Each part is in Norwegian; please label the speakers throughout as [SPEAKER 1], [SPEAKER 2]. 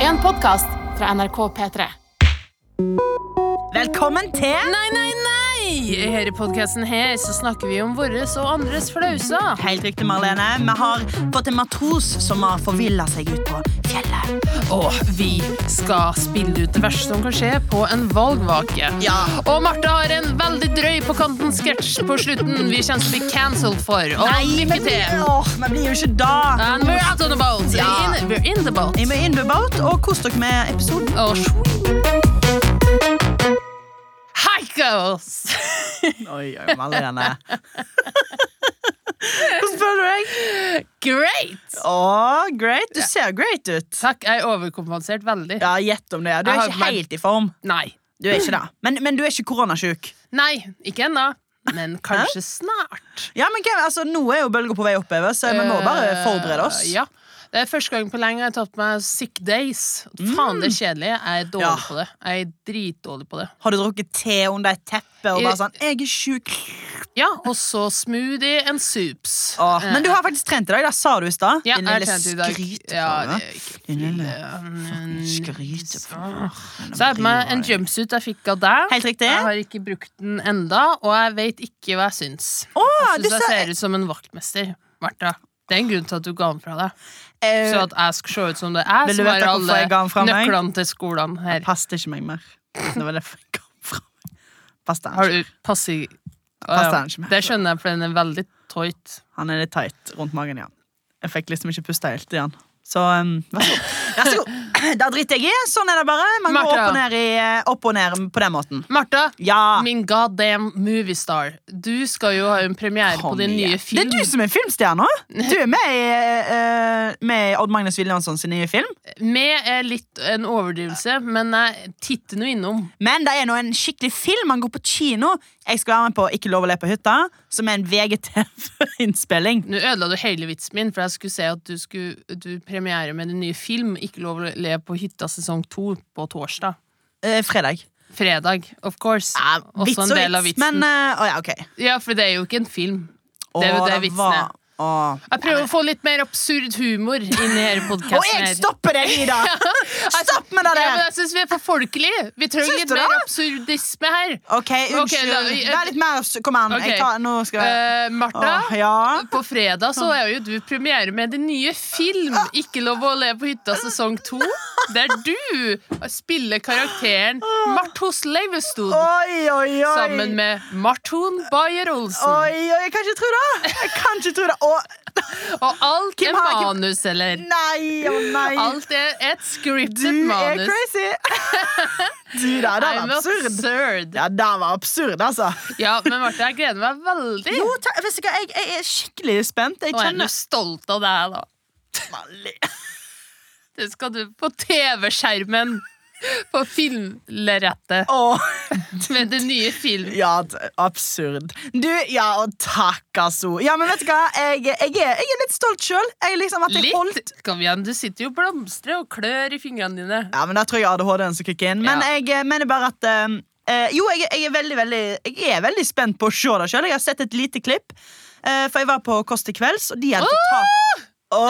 [SPEAKER 1] En podkast fra NRK P3.
[SPEAKER 2] Velkommen til
[SPEAKER 1] Nei, nei, nei! I denne podkasten her så snakker vi om våres og andres flauser.
[SPEAKER 2] Helt riktig, Marlene. Vi har fått en matros som har forvilla seg ut på fjellet.
[SPEAKER 1] Og vi skal spille ut det verste som kan skje på en valgvake.
[SPEAKER 2] Ja.
[SPEAKER 1] Og Martha har en veldig drøy på kanten-sketsj på slutten vi kommer til å bli cancelled for. Og lykke
[SPEAKER 2] men,
[SPEAKER 1] til!
[SPEAKER 2] åh, vi blir jo ikke da.
[SPEAKER 1] And we're out on the boat.
[SPEAKER 2] Ja.
[SPEAKER 1] In, we're in the Oh, boat.
[SPEAKER 2] Jeg må inn på båt og kos dere med episoden.
[SPEAKER 1] Og sjo- Hi, girls!
[SPEAKER 2] Oi, oi, Marlene. Hvordan føler du deg?
[SPEAKER 1] Great!
[SPEAKER 2] Å, great. Du ser great ut.
[SPEAKER 1] Takk, jeg er overkompensert veldig.
[SPEAKER 2] Ja, gjett om det. er. Du
[SPEAKER 1] Jeg
[SPEAKER 2] er
[SPEAKER 1] har
[SPEAKER 2] ikke
[SPEAKER 1] vært-
[SPEAKER 2] helt i form.
[SPEAKER 1] Nei.
[SPEAKER 2] Du er ikke det. Men, men du er ikke koronasjuk.
[SPEAKER 1] Nei, ikke ennå. Men kanskje snart.
[SPEAKER 2] Ja, men hva- altså, Nå er jo bølga på vei oppover, så vi må bare forberede oss.
[SPEAKER 1] Eh, Ja. Det er første gang på lenge jeg har tatt meg sick days. Faen, det er kjedelig. Jeg er dårlig
[SPEAKER 2] Mm. Ja.
[SPEAKER 1] på det. Jeg er dritdårlig på det.
[SPEAKER 2] Har du drukket te under et teppe og
[SPEAKER 1] Eh,
[SPEAKER 2] bare sånn 'Jeg er sjuk'.
[SPEAKER 1] Ja, og så smoothie and soups.
[SPEAKER 2] Åh,
[SPEAKER 1] Eh,
[SPEAKER 2] men du har faktisk trent i dag. Det sa du i stad.
[SPEAKER 1] ja,
[SPEAKER 2] Din
[SPEAKER 1] jeg
[SPEAKER 2] lille
[SPEAKER 1] trente i dag. Ja,
[SPEAKER 2] skryteflue.
[SPEAKER 1] det er ikke
[SPEAKER 2] Din lille
[SPEAKER 1] Mm,
[SPEAKER 2] skryteflue.
[SPEAKER 1] Så jeg har på meg en jumpsuit jeg fikk av deg.
[SPEAKER 2] Helt riktig.
[SPEAKER 1] Jeg har ikke brukt den enda, og jeg vet ikke hva jeg syns.
[SPEAKER 2] Å,
[SPEAKER 1] Jeg
[SPEAKER 2] du
[SPEAKER 1] syns jeg
[SPEAKER 2] sa
[SPEAKER 1] ser ut som en vaktmester, Martha. Det er en grunn til at du ga den fra deg.
[SPEAKER 2] eh,
[SPEAKER 1] Så at jeg skal se ut som det er,
[SPEAKER 2] Vil du
[SPEAKER 1] som
[SPEAKER 2] vite
[SPEAKER 1] har
[SPEAKER 2] hvorfor jeg ga den fra
[SPEAKER 1] alle
[SPEAKER 2] meg?
[SPEAKER 1] nøklene til skolen her.
[SPEAKER 2] Passet ikke meg mer. Det var derfor jeg kom fra meg. Passet han
[SPEAKER 1] Har
[SPEAKER 2] ikke.
[SPEAKER 1] du passi...
[SPEAKER 2] Passer den ikke med?
[SPEAKER 1] Det skjønner jeg, for den er veldig tight.
[SPEAKER 2] Han er litt tight rundt magen, ja. Jeg fikk liksom ikke pusta helt i han. Så um, vær så god. Vær så god. Da driter jeg i. Sånn er det bare. Man går
[SPEAKER 1] Martha.
[SPEAKER 2] opp og ned, i, eh, opp og ned på den måten.
[SPEAKER 1] Martha,
[SPEAKER 2] Ja.
[SPEAKER 1] min goddamn moviestar. Du skal jo ha en premiere på
[SPEAKER 2] Kom
[SPEAKER 1] din
[SPEAKER 2] igjen.
[SPEAKER 1] nye film.
[SPEAKER 2] Det er du som er filmstjerna! Du er med i, eh, med i Odd Magnus Williamson sin nye film.
[SPEAKER 1] Med er litt en overdrivelse, men jeg titter nå innom.
[SPEAKER 2] Men det er nå en skikkelig film. Han går på kino. Jeg skal være med på Ikke lov å le på hytta, som er en VGTV-innspilling.
[SPEAKER 1] Nå ødela du hele vitsen min, for jeg skulle si at du skulle du premiere med din nye film Ikke lov å le på hytta sesong to på torsdag.
[SPEAKER 2] Eh, fredag.
[SPEAKER 1] Fredag, of course.
[SPEAKER 2] Ja, vits
[SPEAKER 1] Også
[SPEAKER 2] og
[SPEAKER 1] en del av
[SPEAKER 2] vits,
[SPEAKER 1] vitsen.
[SPEAKER 2] men eh, å ja, OK.
[SPEAKER 1] Ja, for det er jo ikke en film. Det er jo
[SPEAKER 2] Å,
[SPEAKER 1] det vitsen
[SPEAKER 2] var-
[SPEAKER 1] er.
[SPEAKER 2] å.
[SPEAKER 1] Jeg prøver å få litt mer absurd humor inn i denne podkasten.
[SPEAKER 2] Og jeg stopper deg, Ida! Stopp med
[SPEAKER 1] Ja,
[SPEAKER 2] det
[SPEAKER 1] men
[SPEAKER 2] der!
[SPEAKER 1] jeg syns vi er for folkelige. Vi trenger
[SPEAKER 2] Syns
[SPEAKER 1] litt
[SPEAKER 2] du
[SPEAKER 1] mer
[SPEAKER 2] det?
[SPEAKER 1] absurdisme her.
[SPEAKER 2] OK, unnskyld.
[SPEAKER 1] da-
[SPEAKER 2] Vær litt mer Kom an.
[SPEAKER 1] Ok.
[SPEAKER 2] Jeg tar, nå skal jeg
[SPEAKER 1] Eh, Martha,
[SPEAKER 2] Åh, ja.
[SPEAKER 1] på fredag så er jo du premiere med din nye film 'Ikke lov å leve på hytta' sesong to, der du spiller karakteren Marthos Leivestod
[SPEAKER 2] Oi, oi, oi.
[SPEAKER 1] sammen med Marton Beyer-Olsen.
[SPEAKER 2] Oi, oi, jeg kan ikke tro det! Jeg kan ikke tro det. Å,
[SPEAKER 1] Og alt er
[SPEAKER 2] Kim Hagen-
[SPEAKER 1] manus, eller?
[SPEAKER 2] nei, å nei!
[SPEAKER 1] Alt er et
[SPEAKER 2] Du
[SPEAKER 1] scriptet
[SPEAKER 2] er
[SPEAKER 1] manus.
[SPEAKER 2] crazy! Du, det der var
[SPEAKER 1] I'm
[SPEAKER 2] absurd.
[SPEAKER 1] absurd.
[SPEAKER 2] Ja, det var absurd, altså.
[SPEAKER 1] Ja, men Martha, jeg gleder meg veldig.
[SPEAKER 2] Jo, ta, vet du hva, jeg, jeg er skikkelig spent. Jeg
[SPEAKER 1] Og jeg er nå
[SPEAKER 2] kjenner
[SPEAKER 1] stolt av deg, da. Det skal du på TV-skjermen. På filmlerrettet
[SPEAKER 2] Åh,
[SPEAKER 1] med din nye film.
[SPEAKER 2] ja, d- absurd. Du, ja, og takk, altså. Ja, men vet du hva, jeg, jeg, er, jeg er litt stolt sjøl. Liksom at jeg holdt
[SPEAKER 1] Litt. Kom igjen, du sitter jo og blomstrer og klør i fingrene dine.
[SPEAKER 2] Ja, men Da tror jeg ADHD-en som kicker inn. Men
[SPEAKER 1] Ja.
[SPEAKER 2] jeg eh, mener bare at eh, eh, Jo, jeg, jeg, er veldig, veldig, jeg er veldig spent på å se det sjøl. Jeg har sett et lite klipp. eh, for jeg var på Kåss til kvelds, og de hadde fått tak Å,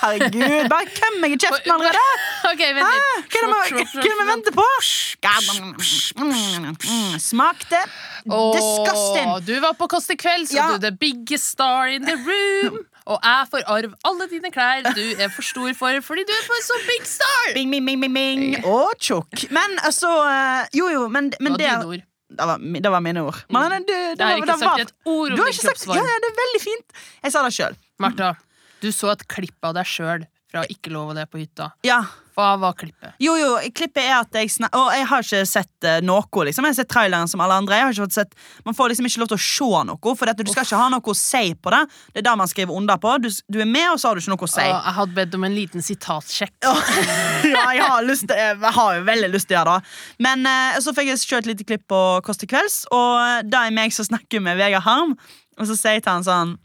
[SPEAKER 2] herregud! Bare køm meg i kjeften allerede!
[SPEAKER 1] Ok, vent
[SPEAKER 2] Hæ?
[SPEAKER 1] litt.
[SPEAKER 2] Hva er det
[SPEAKER 1] Slå, slå,
[SPEAKER 2] vi- hva
[SPEAKER 1] slå,
[SPEAKER 2] er det vi
[SPEAKER 1] slå.
[SPEAKER 2] venter på? Mm, Smakte
[SPEAKER 1] Åh,
[SPEAKER 2] disgusting.
[SPEAKER 1] Du var på Kåss til kvelds,
[SPEAKER 2] Ja.
[SPEAKER 1] og du er the biggest star in the room. Og jeg får arv alle dine klær du er for stor for fordi du er for så big star.
[SPEAKER 2] Bing, bing, bing, bing, bing. Og tjukk. Men altså eh, Jo, jo, men, men
[SPEAKER 1] Det
[SPEAKER 2] det,
[SPEAKER 1] var dine ord.
[SPEAKER 2] det, var, mi- det var mine ord. Men det, det,
[SPEAKER 1] Jeg har
[SPEAKER 2] var-
[SPEAKER 1] ikke
[SPEAKER 2] det var-
[SPEAKER 1] sagt et ord om
[SPEAKER 2] Du har
[SPEAKER 1] din
[SPEAKER 2] ikke sagt ja,
[SPEAKER 1] kroppsvarme.
[SPEAKER 2] ja, det er veldig fint. Jeg sa det sjøl.
[SPEAKER 1] Martha, du så et klipp av deg sjøl fra Ikke lov å le på hytta.
[SPEAKER 2] Ja.
[SPEAKER 1] Hva var klippet?
[SPEAKER 2] Jo, jo, klippet er at jeg snak... Og jeg har ikke sett eh, noe, liksom. Jeg har sett traileren som alle andre. Jeg har ikke fått sett... Man får liksom ikke lov til å se noe, for at du skal ikke ha noe å si på det. Det er det man skriver under på. Du, s- du er med, og så har du ikke noe å si.
[SPEAKER 1] Å, jeg hadde bedt om en liten sitatsjekk.
[SPEAKER 2] ja, jeg har, lyst, til- jeg har jo veldig lyst til å gjøre det. Men eh, så fikk jeg se et lite klipp på Kåss til kvelds, og da er meg som snakker med Vegard Harm, og så sier jeg til han sånn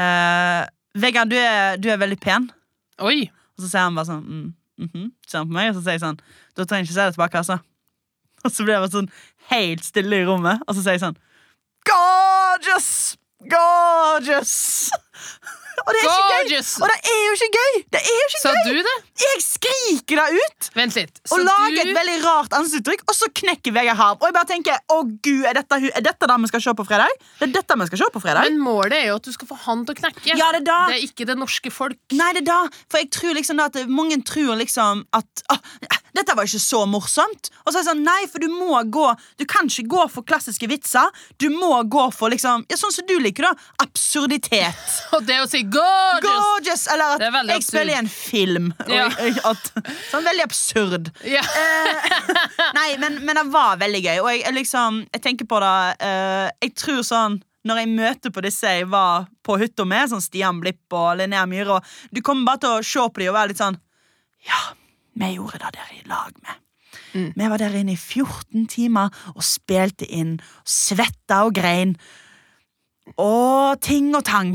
[SPEAKER 2] eh, Vegard, du er, du er veldig pen.
[SPEAKER 1] Oi!
[SPEAKER 2] Og så sier han bare sånn mm, mhm», Ser han på meg, og så sier jeg sånn Da trenger jeg ikke si det tilbake, altså. Og så blir det bare sånn helt stille i rommet, og så sier jeg sånn Gorgeous! Gorgeous! Og det er ikke gøy!
[SPEAKER 1] Gorgeous!
[SPEAKER 2] Og det er jo ikke gøy! Det er jo ikke
[SPEAKER 1] Sa
[SPEAKER 2] gøy!
[SPEAKER 1] du det?
[SPEAKER 2] Jeg skriker det ut!
[SPEAKER 1] Vent litt. Så
[SPEAKER 2] Og lager et
[SPEAKER 1] du-
[SPEAKER 2] veldig rart ansiktsuttrykk, og så knekker Vegard Harm. Og jeg bare tenker, å gud, er dette, hu- er dette det vi skal se på fredag? Det er dette vi skal se på fredag.
[SPEAKER 1] Men målet er jo at du skal få han til å knekke.
[SPEAKER 2] ja, det er da.
[SPEAKER 1] Det er ikke det norske folk.
[SPEAKER 2] Nei, det er da. For jeg tror liksom da at det- mange tror liksom at «Åh, dette var ikke så morsomt. Og så er det sånn, nei, for du må gå Du kan ikke gå for klassiske vitser. Du må gå for liksom Ja, sånn som du liker, da. Absurditet.
[SPEAKER 1] Og det å si 'gorgeous'
[SPEAKER 2] Gorgeous! Eller at
[SPEAKER 1] Det er veldig
[SPEAKER 2] jeg spiller i en film. Og
[SPEAKER 1] Ja.
[SPEAKER 2] jeg, at, sånn veldig absurd.
[SPEAKER 1] ja.
[SPEAKER 2] Eh, Nei, men, men det var veldig gøy. Og jeg, jeg liksom, jeg tenker på det eh, Jeg tror sånn når jeg møter på disse jeg var på hytta med, sånn Stian Blipp og Linnea Myhre og Du kommer bare til å se på dem og være litt sånn Ja, vi gjorde det der i lag med.
[SPEAKER 1] Mm.
[SPEAKER 2] Vi var der inne i 14 timer og spilte inn, svetta og grein. Og ting og tang.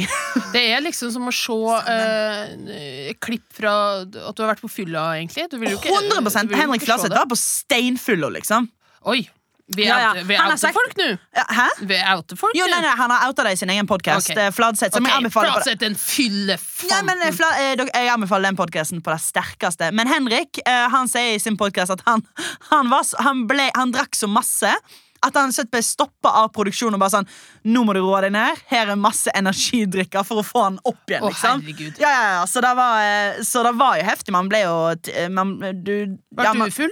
[SPEAKER 1] Det er liksom som å se eh, klipp fra at du har vært på fylla, egentlig. Du vil jo ikke,
[SPEAKER 2] 100
[SPEAKER 1] du vil jo
[SPEAKER 2] Henrik
[SPEAKER 1] ikke se
[SPEAKER 2] Fladseth
[SPEAKER 1] det.
[SPEAKER 2] var på steinfylla, liksom.
[SPEAKER 1] Oi! Vi
[SPEAKER 2] Ja, ja.
[SPEAKER 1] outer vi
[SPEAKER 2] Han har
[SPEAKER 1] outer
[SPEAKER 2] sagt-
[SPEAKER 1] folk nå!
[SPEAKER 2] Ja, Hæ?
[SPEAKER 1] Vi outer folk
[SPEAKER 2] Jo,
[SPEAKER 1] nå.
[SPEAKER 2] nei, nei, Han har outa det i sin egen podkast.
[SPEAKER 1] Ok.
[SPEAKER 2] Fladseth. Som jeg
[SPEAKER 1] Ok,
[SPEAKER 2] anbefaler på det.
[SPEAKER 1] Fladseth, en
[SPEAKER 2] Nei, men eh,
[SPEAKER 1] fyllefanten.
[SPEAKER 2] fla, eh, dere- Jeg anbefaler den podkasten på det sterkeste. Men Henrik eh, han sier i sin podkast at han, han, var, så- han, ble, han drakk så masse at han sett ble stoppa av produksjonen og bare sånn Nå må du roe deg ned. Her er masse energidrikker for å få han opp igjen.
[SPEAKER 1] Å,
[SPEAKER 2] liksom
[SPEAKER 1] herregud.
[SPEAKER 2] ja, ja, ja, så, det var, eh, så det var jo heftig. Man ble jo t- eh, man, du, ja,
[SPEAKER 1] Var
[SPEAKER 2] man,
[SPEAKER 1] du full?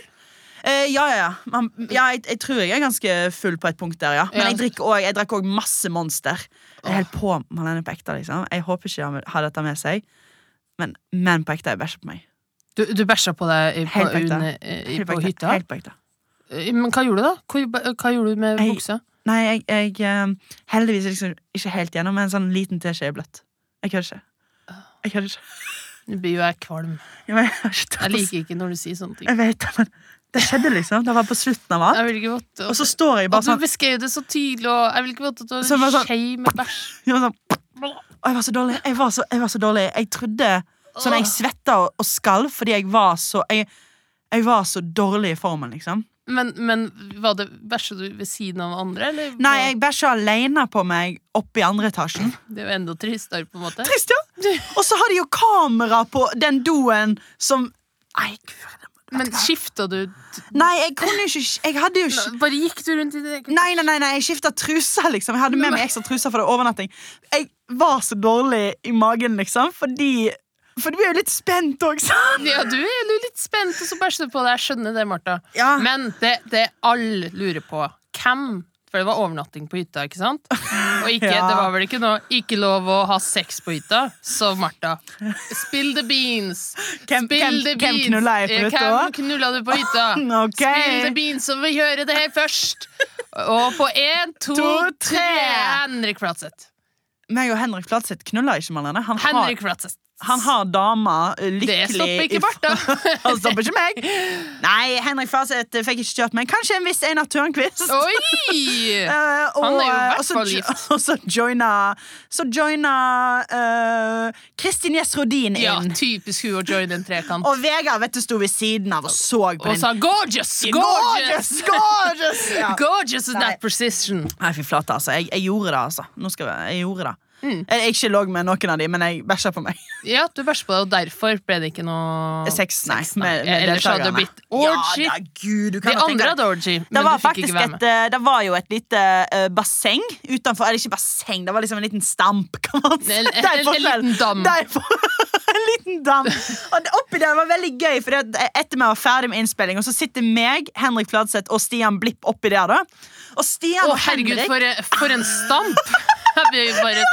[SPEAKER 2] Eh, ja, ja, ja. Man, ja jeg, jeg tror jeg er ganske full på et punkt der, ja. Men
[SPEAKER 1] Ja.
[SPEAKER 2] jeg drikker også- jeg drakk òg masse Monster. Jeg holder på Malene på ekte, liksom. Jeg håper ikke han har dette med seg. Men men på ekte, jeg bæsjer på meg.
[SPEAKER 1] Du, du bæsja på deg i, på,
[SPEAKER 2] Helt på ekte.
[SPEAKER 1] under- i,
[SPEAKER 2] Helt
[SPEAKER 1] på
[SPEAKER 2] på ekte.
[SPEAKER 1] hytta?
[SPEAKER 2] Helt på ekte.
[SPEAKER 1] Eh, Men hva gjorde du, da? Hva, hva gjorde du med
[SPEAKER 2] Jeg-
[SPEAKER 1] buksa?
[SPEAKER 2] Nei, jeg, jeg eh, heldigvis liksom ikke helt gjennom, men en sånn liten teskje er bløtt. Jeg kødder ikke. Jeg kødder ikke.
[SPEAKER 1] Nå blir jo jeg kvalm.
[SPEAKER 2] Jeg, jeg, har ikke tørt å
[SPEAKER 1] Jeg
[SPEAKER 2] si-
[SPEAKER 1] liker ikke når du sier sånne ting.
[SPEAKER 2] jeg vet det, men det skjedde, liksom. Det var på slutten av alt.
[SPEAKER 1] Jeg vil ikke vite
[SPEAKER 2] Og så står jeg bare
[SPEAKER 1] Og du
[SPEAKER 2] sånn,
[SPEAKER 1] beskrev det så tydelig, og jeg vil ikke vite at du har
[SPEAKER 2] Som var
[SPEAKER 1] en
[SPEAKER 2] sånn-
[SPEAKER 1] skje med bæsj.
[SPEAKER 2] jeg var sånn Og jeg var så dårlig. Jeg var så, jeg var så dårlig. Jeg trodde Sånn jeg svetta og, og skalv fordi jeg var så jeg, jeg var så dårlig i formen, liksom.
[SPEAKER 1] Men, men var det bæsja du ved siden av andre, eller?
[SPEAKER 2] Nei,
[SPEAKER 1] var-
[SPEAKER 2] jeg bæsja aleine på meg oppe i andre etasjen.
[SPEAKER 1] Det er jo enda tristere, på en måte.
[SPEAKER 2] Trist, ja! Og så har de jo kamera på den doen som Nei, gud.
[SPEAKER 1] Men skifta du
[SPEAKER 2] Nei, jeg kunne jo ikke Jeg hadde jo ikke
[SPEAKER 1] Bare gikk du rundt i det
[SPEAKER 2] Nei, nei, nei, nei, jeg skifta truser, liksom. Jeg hadde med meg ekstra truser for det var overnatting. Jeg var så dårlig i magen, liksom, fordi For du blir jo litt spent òg, sant?
[SPEAKER 1] Ja, du er jo litt spent, og så bæsjer du på deg. Jeg skjønner det, Martha.
[SPEAKER 2] Ja.
[SPEAKER 1] Men det, det alle lurer på Hvem? For det var overnatting på hytta, ikke sant? Og ikke,
[SPEAKER 2] Ja.
[SPEAKER 1] det var vel ikke noe 'ikke lov å ha sex på hytta', så Martha. Spill the beans!
[SPEAKER 2] Hvem-
[SPEAKER 1] Spill
[SPEAKER 2] hvem-
[SPEAKER 1] the
[SPEAKER 2] hvem
[SPEAKER 1] beans.
[SPEAKER 2] knulla jeg på
[SPEAKER 1] Eh, Hvem
[SPEAKER 2] hytta?
[SPEAKER 1] knulla du på hytta?
[SPEAKER 2] Ok.
[SPEAKER 1] Spill the beans, så vi hører det her først! Og på én, to,
[SPEAKER 2] To, tre.
[SPEAKER 1] tre Henrik Flatseth.
[SPEAKER 2] meg og Henrik Fladseth knuller ikke, Malene. Han har,
[SPEAKER 1] Henrik Flatseth.
[SPEAKER 2] han har dama eh, lykkelig
[SPEAKER 1] Det stopper ikke
[SPEAKER 2] i-
[SPEAKER 1] Martha.
[SPEAKER 2] Han stopper ikke meg. Nei, Henrik Fladseth eh, fikk ikke kjørt meg. Kanskje en viss Einar Tørnquist.
[SPEAKER 1] Oi!
[SPEAKER 2] Eh, og,
[SPEAKER 1] Han er jo i
[SPEAKER 2] eh,
[SPEAKER 1] hvert
[SPEAKER 2] og så
[SPEAKER 1] fall
[SPEAKER 2] jo-
[SPEAKER 1] gift.
[SPEAKER 2] Og så joina Så joina eh, Kristin Gjess Rodin inn.
[SPEAKER 1] Ja, typisk hun å joine en trekant.
[SPEAKER 2] Og Vegard vet du, sto ved siden av og så på
[SPEAKER 1] Og
[SPEAKER 2] den.
[SPEAKER 1] sa 'gorgeous'!
[SPEAKER 2] Gorgeous!
[SPEAKER 1] Gorgeous!
[SPEAKER 2] Gorgeous! Ja.
[SPEAKER 1] Gorgeous in
[SPEAKER 2] Nei.
[SPEAKER 1] that precision.
[SPEAKER 2] Nei, fy flate, altså. Jeg, jeg gjorde det, altså. Nå skal vi, jeg gjorde det.
[SPEAKER 1] Mm.
[SPEAKER 2] Jeg, jeg ikke lå med noen av de, men jeg bæsja på meg.
[SPEAKER 1] Ja, du bæsjer på deg, og derfor ble det ikke noe
[SPEAKER 2] Sex, nei. Med, med
[SPEAKER 1] Ellers hadde det
[SPEAKER 2] deltakerne.
[SPEAKER 1] blitt orgy.
[SPEAKER 2] Ja, da, gud, du
[SPEAKER 1] De
[SPEAKER 2] kan jo tenke
[SPEAKER 1] andre
[SPEAKER 2] deg-
[SPEAKER 1] hadde orgy,
[SPEAKER 2] Det
[SPEAKER 1] men
[SPEAKER 2] var
[SPEAKER 1] du fikk
[SPEAKER 2] faktisk
[SPEAKER 1] ikke være
[SPEAKER 2] et,
[SPEAKER 1] med.
[SPEAKER 2] eh, det var jo et lite eh, basseng utenfor Eller ikke basseng, det var liksom en liten stamp, kan man si.
[SPEAKER 1] En-
[SPEAKER 2] Det er
[SPEAKER 1] en- en
[SPEAKER 2] forskjell.
[SPEAKER 1] liten dam.
[SPEAKER 2] Det er for- en liten dam. Og det- oppi der var veldig gøy, for det, at eh, etter vi var ferdig med innspilling, og så sitter meg, Henrik Fladseth og Stian Blipp oppi der, da. Og Stian
[SPEAKER 1] Å,
[SPEAKER 2] og
[SPEAKER 1] herregud,
[SPEAKER 2] Henrik
[SPEAKER 1] for, for en stamp! Jeg blir bare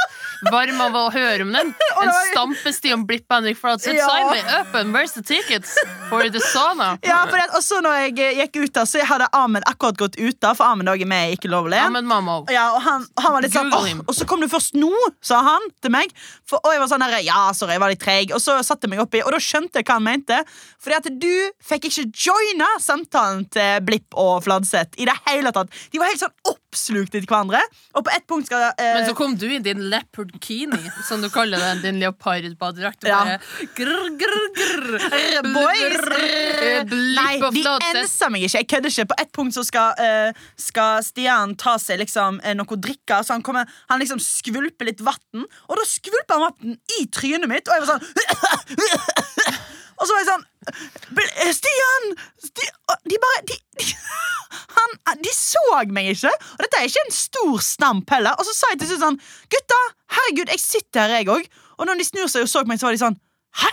[SPEAKER 1] varm av å høre om den. En
[SPEAKER 2] var-
[SPEAKER 1] stamp med Stian Blipp og Henrik Fladseth.
[SPEAKER 2] Ja.
[SPEAKER 1] Sign me up and where's the tickets for the sauna?
[SPEAKER 2] ja, for det, at- og så når jeg eh, gikk ut der, så hadde Ahmed akkurat gått ut der, for Ahmed også er med i Ikke lov å le.
[SPEAKER 1] Ja, men mamma
[SPEAKER 2] Og Ja, og han, han var litt sånn
[SPEAKER 1] Google
[SPEAKER 2] «Åh,
[SPEAKER 1] him.
[SPEAKER 2] Og så kom du først nå, sa han til meg. For, og jeg var sånn der, ja, sorry, jeg var litt treg. Og så satte jeg meg oppi, og da skjønte jeg hva han mente. Fordi at du fikk ikke joina samtalen til Blipp og Fladseth i det hele tatt. De var helt sånn opptatt oppslukt etter hverandre. Og på ett punkt skal eh,
[SPEAKER 1] Men så kom du i din leopardkini, som du kaller den. Din leopardbadedrakt. og
[SPEAKER 2] Ja. Eh,
[SPEAKER 1] bare Grr, grr, grr.
[SPEAKER 2] Boys! eh,
[SPEAKER 1] Grr, eh, blip
[SPEAKER 2] Nei,
[SPEAKER 1] of
[SPEAKER 2] de
[SPEAKER 1] låter.
[SPEAKER 2] enser meg ikke. Jeg kødder ikke. På et punkt så skal, eh, skal Stian ta seg liksom, eh, noe å drikke, så han, kommer, han liksom skvulper litt vann. Og da skvulper han vann i trynet mitt, og jeg var sånn Og så var jeg sånn "Bl- Stian! Sti og de bare de, de, han, eh, de så meg ikke. Og dette er ikke en stor stamp heller. Og så sa jeg til slutt sånn Gutta, herregud, jeg sitter her, jeg òg. Og når de snur seg og så på meg, så var de sånn Hæ?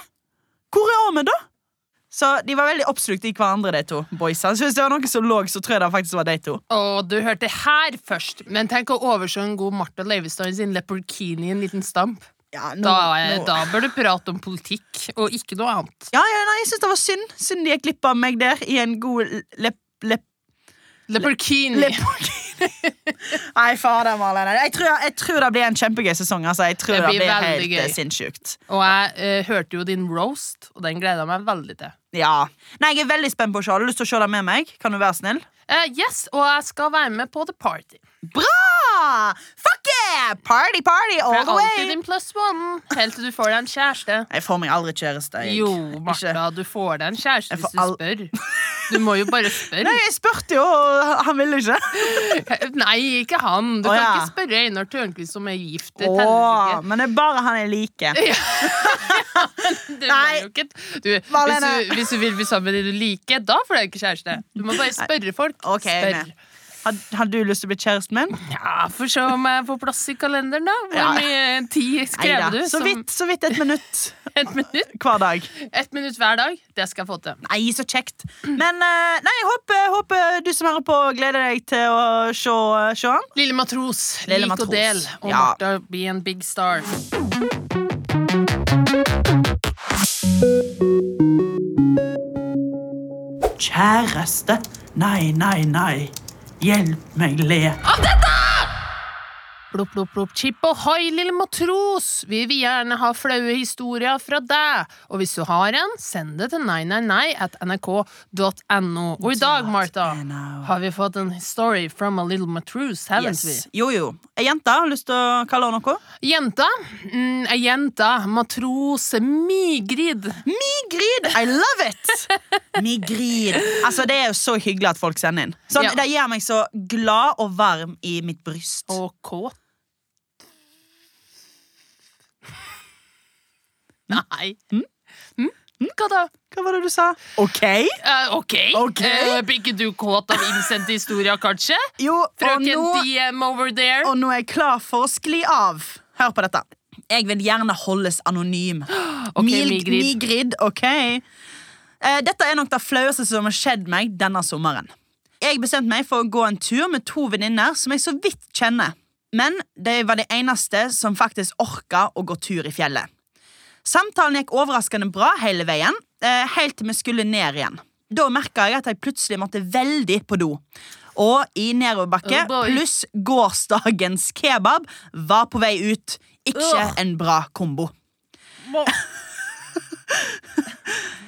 [SPEAKER 2] Hvor er Ahmed, da? Så de var veldig oppslukt i hverandre, de to boysa. Så hvis det var noen som lå, så tror jeg det faktisk var de to.
[SPEAKER 1] Og du hørte her først. Men tenk å overse en god Martha Leivestad i sin leopardkini i en liten stamp.
[SPEAKER 2] Ja, nå-
[SPEAKER 1] Da, er-
[SPEAKER 2] nå-
[SPEAKER 1] da bør du prate om politikk, og ikke noe annet.
[SPEAKER 2] ja, ja nei, jeg syns det var synd. Synd de gikk glipp av meg der i en god lepp... lepp...
[SPEAKER 1] Leopardkini.
[SPEAKER 2] lepp- Nei, fader, Marlene. Jeg tror, jeg tror det blir en kjempegøy sesong. Altså. Jeg tror
[SPEAKER 1] Det
[SPEAKER 2] det blir,
[SPEAKER 1] blir veldig
[SPEAKER 2] helt
[SPEAKER 1] gøy.
[SPEAKER 2] eh, sinnssykt.
[SPEAKER 1] Og jeg eh, hørte jo din roast, og den gleda jeg meg veldig til.
[SPEAKER 2] Ja. Nei, jeg er veldig spent på å se. Har du lyst til å se det med meg? Kan du være snill?
[SPEAKER 1] Eh, yes, og jeg skal være med på The Party.
[SPEAKER 2] Bra! Fuck yeah! Party, party
[SPEAKER 1] For
[SPEAKER 2] all
[SPEAKER 1] jeg er
[SPEAKER 2] the
[SPEAKER 1] alltid
[SPEAKER 2] way!
[SPEAKER 1] din plus one helt til du får deg en kjæreste.
[SPEAKER 2] Jeg får meg aldri kjæreste. jeg.
[SPEAKER 1] Jo,
[SPEAKER 2] Ikke.
[SPEAKER 1] Martha, du får deg en kjæreste
[SPEAKER 2] Jeg får
[SPEAKER 1] hvis du
[SPEAKER 2] all-
[SPEAKER 1] spør. Du må jo bare spørre.
[SPEAKER 2] Nei, jeg spurte jo, og han ville ikke.
[SPEAKER 1] Nei, ikke han. Du
[SPEAKER 2] Å,
[SPEAKER 1] kan
[SPEAKER 2] ja.
[SPEAKER 1] ikke spørre Einar Tørnquist som er gift. Det teller
[SPEAKER 2] Åh,
[SPEAKER 1] ikke.
[SPEAKER 2] men det er bare han jeg liker.
[SPEAKER 1] Det var
[SPEAKER 2] Nei.
[SPEAKER 1] jo ikke. Du, hvis,
[SPEAKER 2] Marlene.
[SPEAKER 1] du, hvis du vil bli sammen med de du liker, da får du ikke kjæreste. Du må bare spørre folk.
[SPEAKER 2] Ok, jeg er
[SPEAKER 1] Spør.
[SPEAKER 2] med. Har, har du lyst til å bli kjæresten min?
[SPEAKER 1] Ja, Får se om jeg får plass i kalenderen, da. Hvor
[SPEAKER 2] Ja.
[SPEAKER 1] mye tid skrev
[SPEAKER 2] Neida.
[SPEAKER 1] du?
[SPEAKER 2] Så
[SPEAKER 1] som-
[SPEAKER 2] vidt, så vidt et minutt
[SPEAKER 1] Et minutt,
[SPEAKER 2] hver dag.
[SPEAKER 1] et minutt hver dag. Det skal jeg få til.
[SPEAKER 2] Nei, så kjekt. Men eh, nei, jeg håper, håper du som hører på, gleder deg til å se, se han.
[SPEAKER 1] Lille Matros,
[SPEAKER 2] Lille
[SPEAKER 1] lik
[SPEAKER 2] Matros.
[SPEAKER 1] og del. Og
[SPEAKER 2] Ja.
[SPEAKER 1] Martha, be en big star.
[SPEAKER 2] Kjæreste. Nei, nei, nei. Hjelp meg le.
[SPEAKER 1] Plopp, plopp, plopp. Chip og hoi, lille matros! Vi vil gjerne ha flaue historier fra deg. Og hvis du har en, send det til 999 at nrk.no. Og i dag, Martha,
[SPEAKER 2] NO.
[SPEAKER 1] har vi fått en story from a little matros, haven't
[SPEAKER 2] Yes. Jo, jo. Ei jente har lyst til å kalle henne noe.
[SPEAKER 1] we? Jenta. Mm, ei jente. Matrose Migrid.
[SPEAKER 2] Migrid! I love it! Migrid. Altså, det er jo så hyggelig at folk sender inn. Sånn,
[SPEAKER 1] Ja.
[SPEAKER 2] Det gjør meg så glad og varm i mitt bryst.
[SPEAKER 1] Og kåt. Nei. Mm? Hva da?
[SPEAKER 2] Hva var det du sa? OK?
[SPEAKER 1] Eh, ok.
[SPEAKER 2] Ok.
[SPEAKER 1] Eh, blir ikke du kåt av innsendte historier, kanskje?
[SPEAKER 2] Jo, og
[SPEAKER 1] Frøken
[SPEAKER 2] nå,
[SPEAKER 1] DM over there.
[SPEAKER 2] og nå er jeg klar for å skli av. Hør på dette. Jeg vil gjerne holdes anonym.
[SPEAKER 1] Ok,
[SPEAKER 2] Mild-
[SPEAKER 1] Migrid.
[SPEAKER 2] Migrid, ok. Eh, dette er nok det flaueste som har skjedd meg denne sommeren. Jeg bestemte meg for å gå en tur med to venninner som jeg så vidt kjenner. Men de var de eneste som faktisk orka å gå tur i fjellet. Samtalen gikk overraskende bra hele veien, eh, helt til vi skulle ned igjen. Da merka jeg at jeg plutselig måtte veldig på do. Og i nedoverbakke
[SPEAKER 1] Oh boy.
[SPEAKER 2] pluss gårsdagens kebab var på vei ut. Ikke
[SPEAKER 1] Ugh.
[SPEAKER 2] en bra kombo.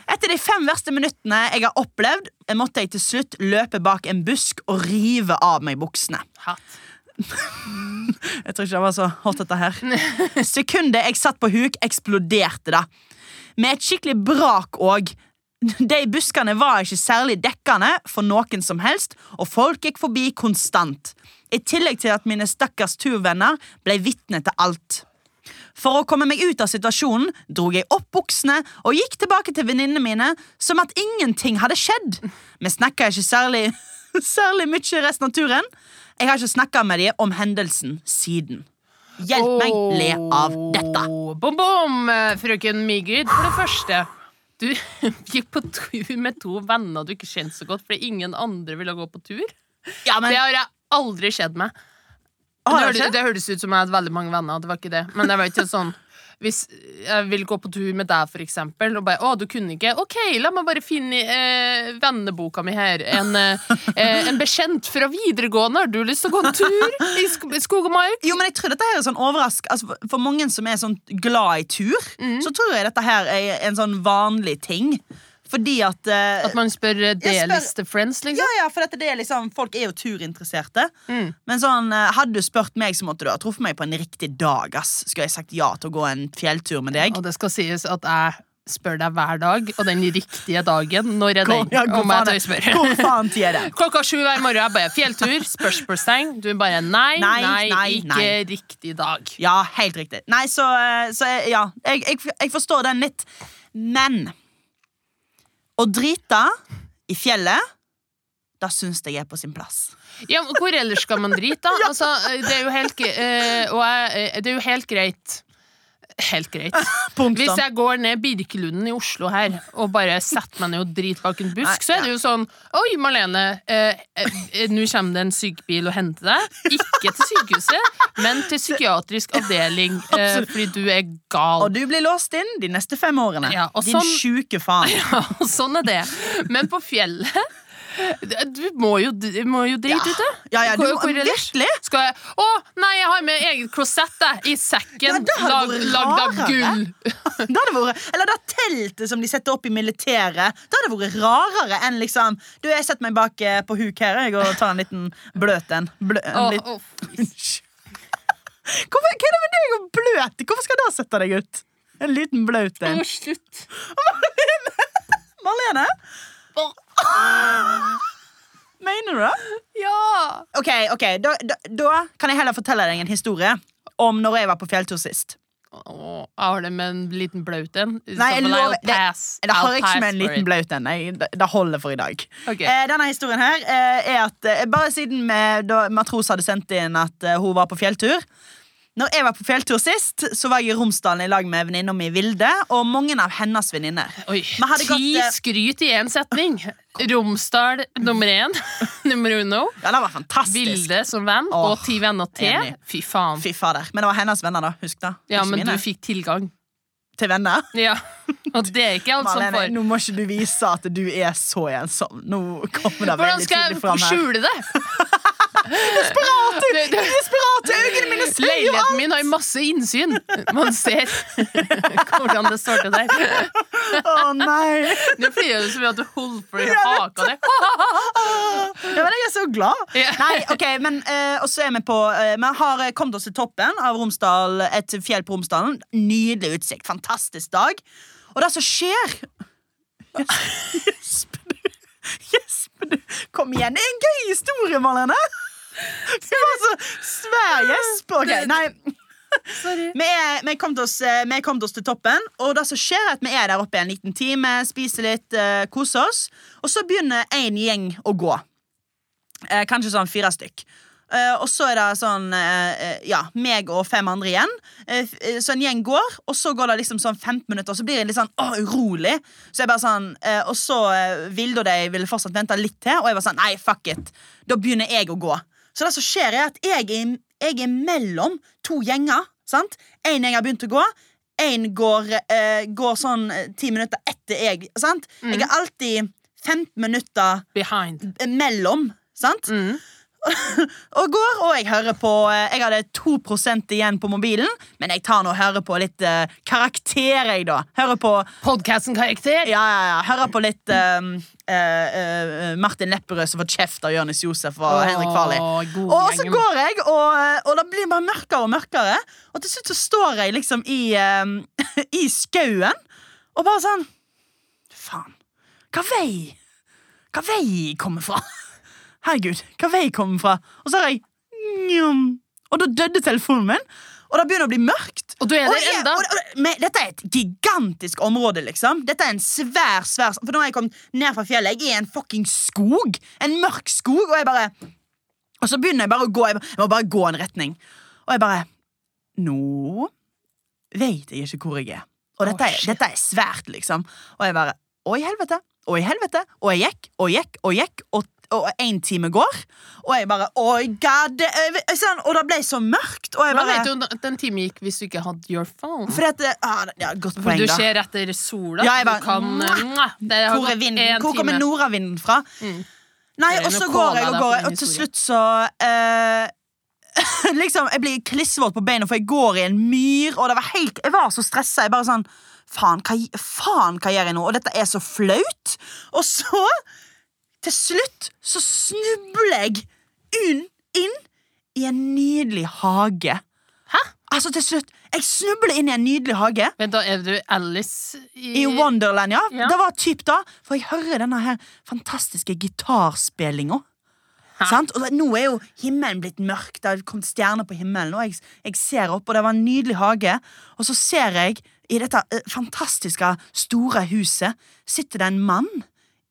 [SPEAKER 2] Etter de fem verste minuttene jeg har opplevd, måtte jeg til slutt løpe bak en busk og rive av meg buksene.
[SPEAKER 1] Hatt.
[SPEAKER 2] Jeg tror ikke det var så hot, dette her. Sekundet jeg satt på huk, eksploderte det. Med et skikkelig brak òg. De buskene var ikke særlig dekkende for noen som helst, og folk gikk forbi konstant. I tillegg til at mine stakkars turvenner ble vitne til alt. For å komme meg ut av situasjonen dro jeg opp buksene og gikk tilbake til venninnene mine som at ingenting hadde skjedd. Vi snakka ikke særlig, særlig mye resten av turen. Jeg har ikke snakka med dem om hendelsen siden. Hjelp meg le av dette.
[SPEAKER 1] Åh, Bom, bom, eh, frøken Migrid. For det første, du gikk på tur med to venner du ikke kjente så godt fordi ingen andre ville gå på tur.
[SPEAKER 2] Ja, men,
[SPEAKER 1] Det har jeg aldri skjedd meg. Det,
[SPEAKER 2] har Ah, det
[SPEAKER 1] hørte-
[SPEAKER 2] skjedd?
[SPEAKER 1] det hørtes ut som jeg hadde veldig mange venner. Det var ikke det. Men det var ikke sånn hvis jeg vil gå på tur med deg, for eksempel, og bare 'Å, du kunne ikke.' Ok, la meg bare finne i, eh, venneboka mi her. En, eh, eh, en bekjent fra videregående. Har du lyst til å gå en tur i sk skog og mark?
[SPEAKER 2] Jo, men jeg tror dette her er sånn overrask altså, for- For
[SPEAKER 1] Mm.
[SPEAKER 2] mange som er sånn glad i tur, så tror jeg dette her er en sånn vanlig ting. Fordi at, eh,
[SPEAKER 1] At man spør eh,
[SPEAKER 2] spør-
[SPEAKER 1] delis til friends,
[SPEAKER 2] Ja,
[SPEAKER 1] liksom?
[SPEAKER 2] ja, for dette, det er liksom, folk er jo turinteresserte.
[SPEAKER 1] Mm.
[SPEAKER 2] Men sånn, eh, hadde du spurt meg, så måtte du ha truffet meg på en riktig dag. ass Skulle jeg sagt ja til å gå en fjelltur med deg?
[SPEAKER 1] Og det skal sies at jeg spør deg hver dag, og den riktige dagen, når er den?
[SPEAKER 2] Hvor- ja, hvor
[SPEAKER 1] om jeg
[SPEAKER 2] faen-
[SPEAKER 1] tør spørre.
[SPEAKER 2] Hvor faen tid er det?
[SPEAKER 1] Klokka sju hver morgen. Jeg bare 'fjelltur', spørsmålstegn. Du bare nei,
[SPEAKER 2] Nei,
[SPEAKER 1] nei,
[SPEAKER 2] nei,
[SPEAKER 1] ikke
[SPEAKER 2] nei.
[SPEAKER 1] riktig dag.
[SPEAKER 2] Ja, helt riktig. Nei, så, eh, så eh, ja. Jeg, jeg, jeg forstår den litt. Men å drite i fjellet, da syns jeg er på sin plass.
[SPEAKER 1] Ja, men hvor ellers skal man drite, da? Altså, det er jo helt, gre- eh, og jeg, eh, det er jo helt greit Helt greit.
[SPEAKER 2] Punktum.
[SPEAKER 1] Hvis jeg går ned Birkelunden i Oslo her og bare setter meg ned og driter bak en busk,
[SPEAKER 2] Nei,
[SPEAKER 1] så er det jo sånn Oi, Marlene, eh, eh, eh, nå kommer det en sykebil og henter deg. Ikke til sykehuset, men til psykiatrisk avdeling, eh,
[SPEAKER 2] Absolutt.
[SPEAKER 1] fordi du er gal.
[SPEAKER 2] Og du blir låst inn de neste fem årene.
[SPEAKER 1] Ja, og
[SPEAKER 2] Din
[SPEAKER 1] sånn-
[SPEAKER 2] sjuke faen.
[SPEAKER 1] Ja, sånn er det. Men på fjellet Du må jo, du må jo drite ute.
[SPEAKER 2] Ja, ja, du,
[SPEAKER 1] Hvor- hvor ellers?
[SPEAKER 2] virkelig?
[SPEAKER 1] Skal jeg Å, nei, jeg har med eget klosett jeg, i
[SPEAKER 2] Ja,
[SPEAKER 1] sekken.
[SPEAKER 2] det hadde
[SPEAKER 1] lag,
[SPEAKER 2] vært
[SPEAKER 1] lagd av
[SPEAKER 2] rarere.
[SPEAKER 1] gull.
[SPEAKER 2] Det hadde vært, eller det teltet som de setter opp i militæret, det hadde vært rarere enn liksom Du, jeg setter meg bak eh, på huk her jeg, og tar en liten bløt en. Blø, en
[SPEAKER 1] Å,
[SPEAKER 2] litt-
[SPEAKER 1] å,
[SPEAKER 2] Hvorfor, hva er det med deg og bløt? Hvorfor skal det sette deg ut? En liten bløt en.
[SPEAKER 1] å, slutt.
[SPEAKER 2] Marlene,
[SPEAKER 1] Å,
[SPEAKER 2] mener du det?
[SPEAKER 1] ja.
[SPEAKER 2] Ok, ok, da, da, da kan jeg heller fortelle deg en historie om når jeg var på fjelltur sist.
[SPEAKER 1] Å, jeg har det med en liten blaut en.
[SPEAKER 2] Nei, jeg
[SPEAKER 1] Som en I'll
[SPEAKER 2] lover- det-
[SPEAKER 1] pass.
[SPEAKER 2] Det har
[SPEAKER 1] I'll
[SPEAKER 2] jeg ikke
[SPEAKER 1] pass
[SPEAKER 2] med en
[SPEAKER 1] for
[SPEAKER 2] liten
[SPEAKER 1] it.
[SPEAKER 2] blaut en. Jeg- Det det holder for i dag.
[SPEAKER 1] Ok.
[SPEAKER 2] Eh, denne historien her eh, er at eh, bare siden eh, da Matros hadde sendt inn at eh, hun var på fjelltur Når jeg var på fjelltur sist, så var jeg i Romsdalen i lag med venninna mi Vilde og mange av hennes venninner.
[SPEAKER 1] Oi,
[SPEAKER 2] Men hadde
[SPEAKER 1] ti
[SPEAKER 2] gått, eh,
[SPEAKER 1] skryt i én setning. Romsdal nummer én. nummer uno.
[SPEAKER 2] Ja, det var fantastisk.
[SPEAKER 1] Vilde som venn,
[SPEAKER 2] Åh,
[SPEAKER 1] og ti venner til.
[SPEAKER 2] enig.
[SPEAKER 1] Fy faen.
[SPEAKER 2] Fy fader. Men det var hennes venner, da. Husk det.
[SPEAKER 1] Ja,
[SPEAKER 2] Ikke
[SPEAKER 1] men du
[SPEAKER 2] mine.
[SPEAKER 1] fikk tilgang.
[SPEAKER 2] Til venner.
[SPEAKER 1] Ja, Og det er ikke alt som
[SPEAKER 2] Malene,
[SPEAKER 1] får.
[SPEAKER 2] nå må ikke du vise at du er så ensom. Nå kommer det
[SPEAKER 1] Hvordan
[SPEAKER 2] veldig
[SPEAKER 1] skal
[SPEAKER 2] tydelig
[SPEAKER 1] jeg
[SPEAKER 2] fram her.
[SPEAKER 1] skjule det?
[SPEAKER 2] Desperat!
[SPEAKER 1] Det- det-
[SPEAKER 2] Desperat! Øynene mine sier jo alt!
[SPEAKER 1] Leiligheten min har masse innsyn. Man ser hvordan det står til der.
[SPEAKER 2] Å nei!
[SPEAKER 1] Nå flirer du så mye at du holder for i
[SPEAKER 2] Jeg vet
[SPEAKER 1] haka di.
[SPEAKER 2] Ja, men jeg er så glad.
[SPEAKER 1] Ja.
[SPEAKER 2] Nei, ok, men eh, Og så er vi på eh, Vi har eh, kommet oss til toppen av Romsdal, et fjell på Romsdalen. Nydelig utsikt. Fantastisk dag. Og det som skjer Gjesper du. Gjesper du. Kom igjen. Det er en gøy historie, Marlene. Du var så svær gjesp. Ok, nei.
[SPEAKER 1] Sorry.
[SPEAKER 2] Vi, er, vi, kom til oss, eh, vi kom til oss til toppen, og det som skjer er at vi er der oppe en liten time, spiser litt, eh, koser oss, og så begynner en gjeng å gå. Eh, kanskje sånn fire stykk. Eh, og så er det sånn eh, eh, Ja, meg og fem andre igjen. Eh, f- eh, så en gjeng går, og så går det liksom sånn 15 minutter, og så blir jeg litt sånn åh, urolig. Så jeg bare sånn eh, Og så eh, Vilde og de ville fortsatt vente litt til, og jeg var sånn Nei, fuck it. Da begynner jeg å gå. Så det som skjer, er at jeg er, jeg er mellom to gjenger. Sant? En gjeng har begynt å gå. En går, eh, går sånn eh, ti minutter etter jeg. Sant? Jeg er alltid 15 minutter
[SPEAKER 1] Behind.
[SPEAKER 2] mellom. Sant?
[SPEAKER 1] Mm.
[SPEAKER 2] Og går, og jeg hører på eh, Jeg hadde 2 igjen på mobilen, men jeg tar nå og hører på litt eh, karakter, jeg, da. Hører på
[SPEAKER 1] Podcasten Karakter.
[SPEAKER 2] ja, ja, ja, hører på litt eh, eh, eh, Martin Lepperød som får kjeft av Jonis Josef og
[SPEAKER 1] Åh,
[SPEAKER 2] Henrik Farley.
[SPEAKER 1] god
[SPEAKER 2] Og så
[SPEAKER 1] gjengen.
[SPEAKER 2] går jeg, og, eh, og det blir bare mørkere og mørkere. Og til slutt så står jeg liksom i, eh, i skauen og bare sånn Faen. Hva vei Hva vei jeg kommer fra? Herregud, hva vei jeg kommer fra? Og så har jeg njom, Og da døde telefonen min, og det begynner å bli mørkt.
[SPEAKER 1] Og du er
[SPEAKER 2] Og
[SPEAKER 1] der
[SPEAKER 2] jeg-
[SPEAKER 1] enda.
[SPEAKER 2] og- og- Men dette er et gigantisk område, liksom. Dette er en svær, svær For nå har jeg kommet ned fra fjellet. Jeg er i en fucking skog. En mørk skog. Og jeg bare Og så begynner jeg bare å gå. Jeg, bare, jeg må bare gå en retning. Og jeg bare Nå veit jeg ikke hvor jeg er. Og dette er,
[SPEAKER 1] Å, shit.
[SPEAKER 2] dette er svært, liksom. Og jeg bare Å, i helvete. Å, i helvete. Og jeg gikk og gikk og gikk, og, og en time går. Og jeg bare Oi, god det er- sånn, Og det ble så mørkt. Og jeg
[SPEAKER 1] Hvordan
[SPEAKER 2] bare
[SPEAKER 1] vet du at en time gikk hvis du ikke hadde your phone?
[SPEAKER 2] fordi at det- ah, det- ja, Godt
[SPEAKER 1] For
[SPEAKER 2] poeng,
[SPEAKER 1] du
[SPEAKER 2] da.
[SPEAKER 1] ser etter sola.
[SPEAKER 2] Ja, jeg bare,
[SPEAKER 1] du kan eh, mwah, Det har
[SPEAKER 2] Hvor, er
[SPEAKER 1] gått
[SPEAKER 2] vinden,
[SPEAKER 1] en
[SPEAKER 2] hvor kommer
[SPEAKER 1] time.
[SPEAKER 2] nordavinden fra?
[SPEAKER 1] Mm.
[SPEAKER 2] Nei,
[SPEAKER 1] Det er
[SPEAKER 2] og
[SPEAKER 1] noe
[SPEAKER 2] så
[SPEAKER 1] kål
[SPEAKER 2] går jeg
[SPEAKER 1] av
[SPEAKER 2] og
[SPEAKER 1] det
[SPEAKER 2] går,
[SPEAKER 1] på din
[SPEAKER 2] jeg, og til
[SPEAKER 1] historie.
[SPEAKER 2] slutt så eh, Liksom, Jeg blir klissvåt på beina, for jeg går i en myr, og det var helt, jeg var så stressa. Jeg bare sånn faen hva, faen, hva gjør jeg nå? Og dette er så flaut. Og så, til slutt, så snubler jeg un, inn i en nydelig hage.
[SPEAKER 1] Hæ?
[SPEAKER 2] Altså, til slutt. Jeg snubler inn i en nydelig hage.
[SPEAKER 1] Vent, da er du Alice i,
[SPEAKER 2] I Wonderland, ja.
[SPEAKER 1] Ja.
[SPEAKER 2] Det var typ da. For jeg hører denne her fantastiske gitarspillinga.
[SPEAKER 1] Hæ?
[SPEAKER 2] Sant? Og da- nå er jo himmelen blitt mørk. Det har kommet stjerner på himmelen. Og jeg, jeg ser opp, og det var en nydelig hage. Og så ser jeg, i dette eh, fantastiske, store huset, sitter det en mann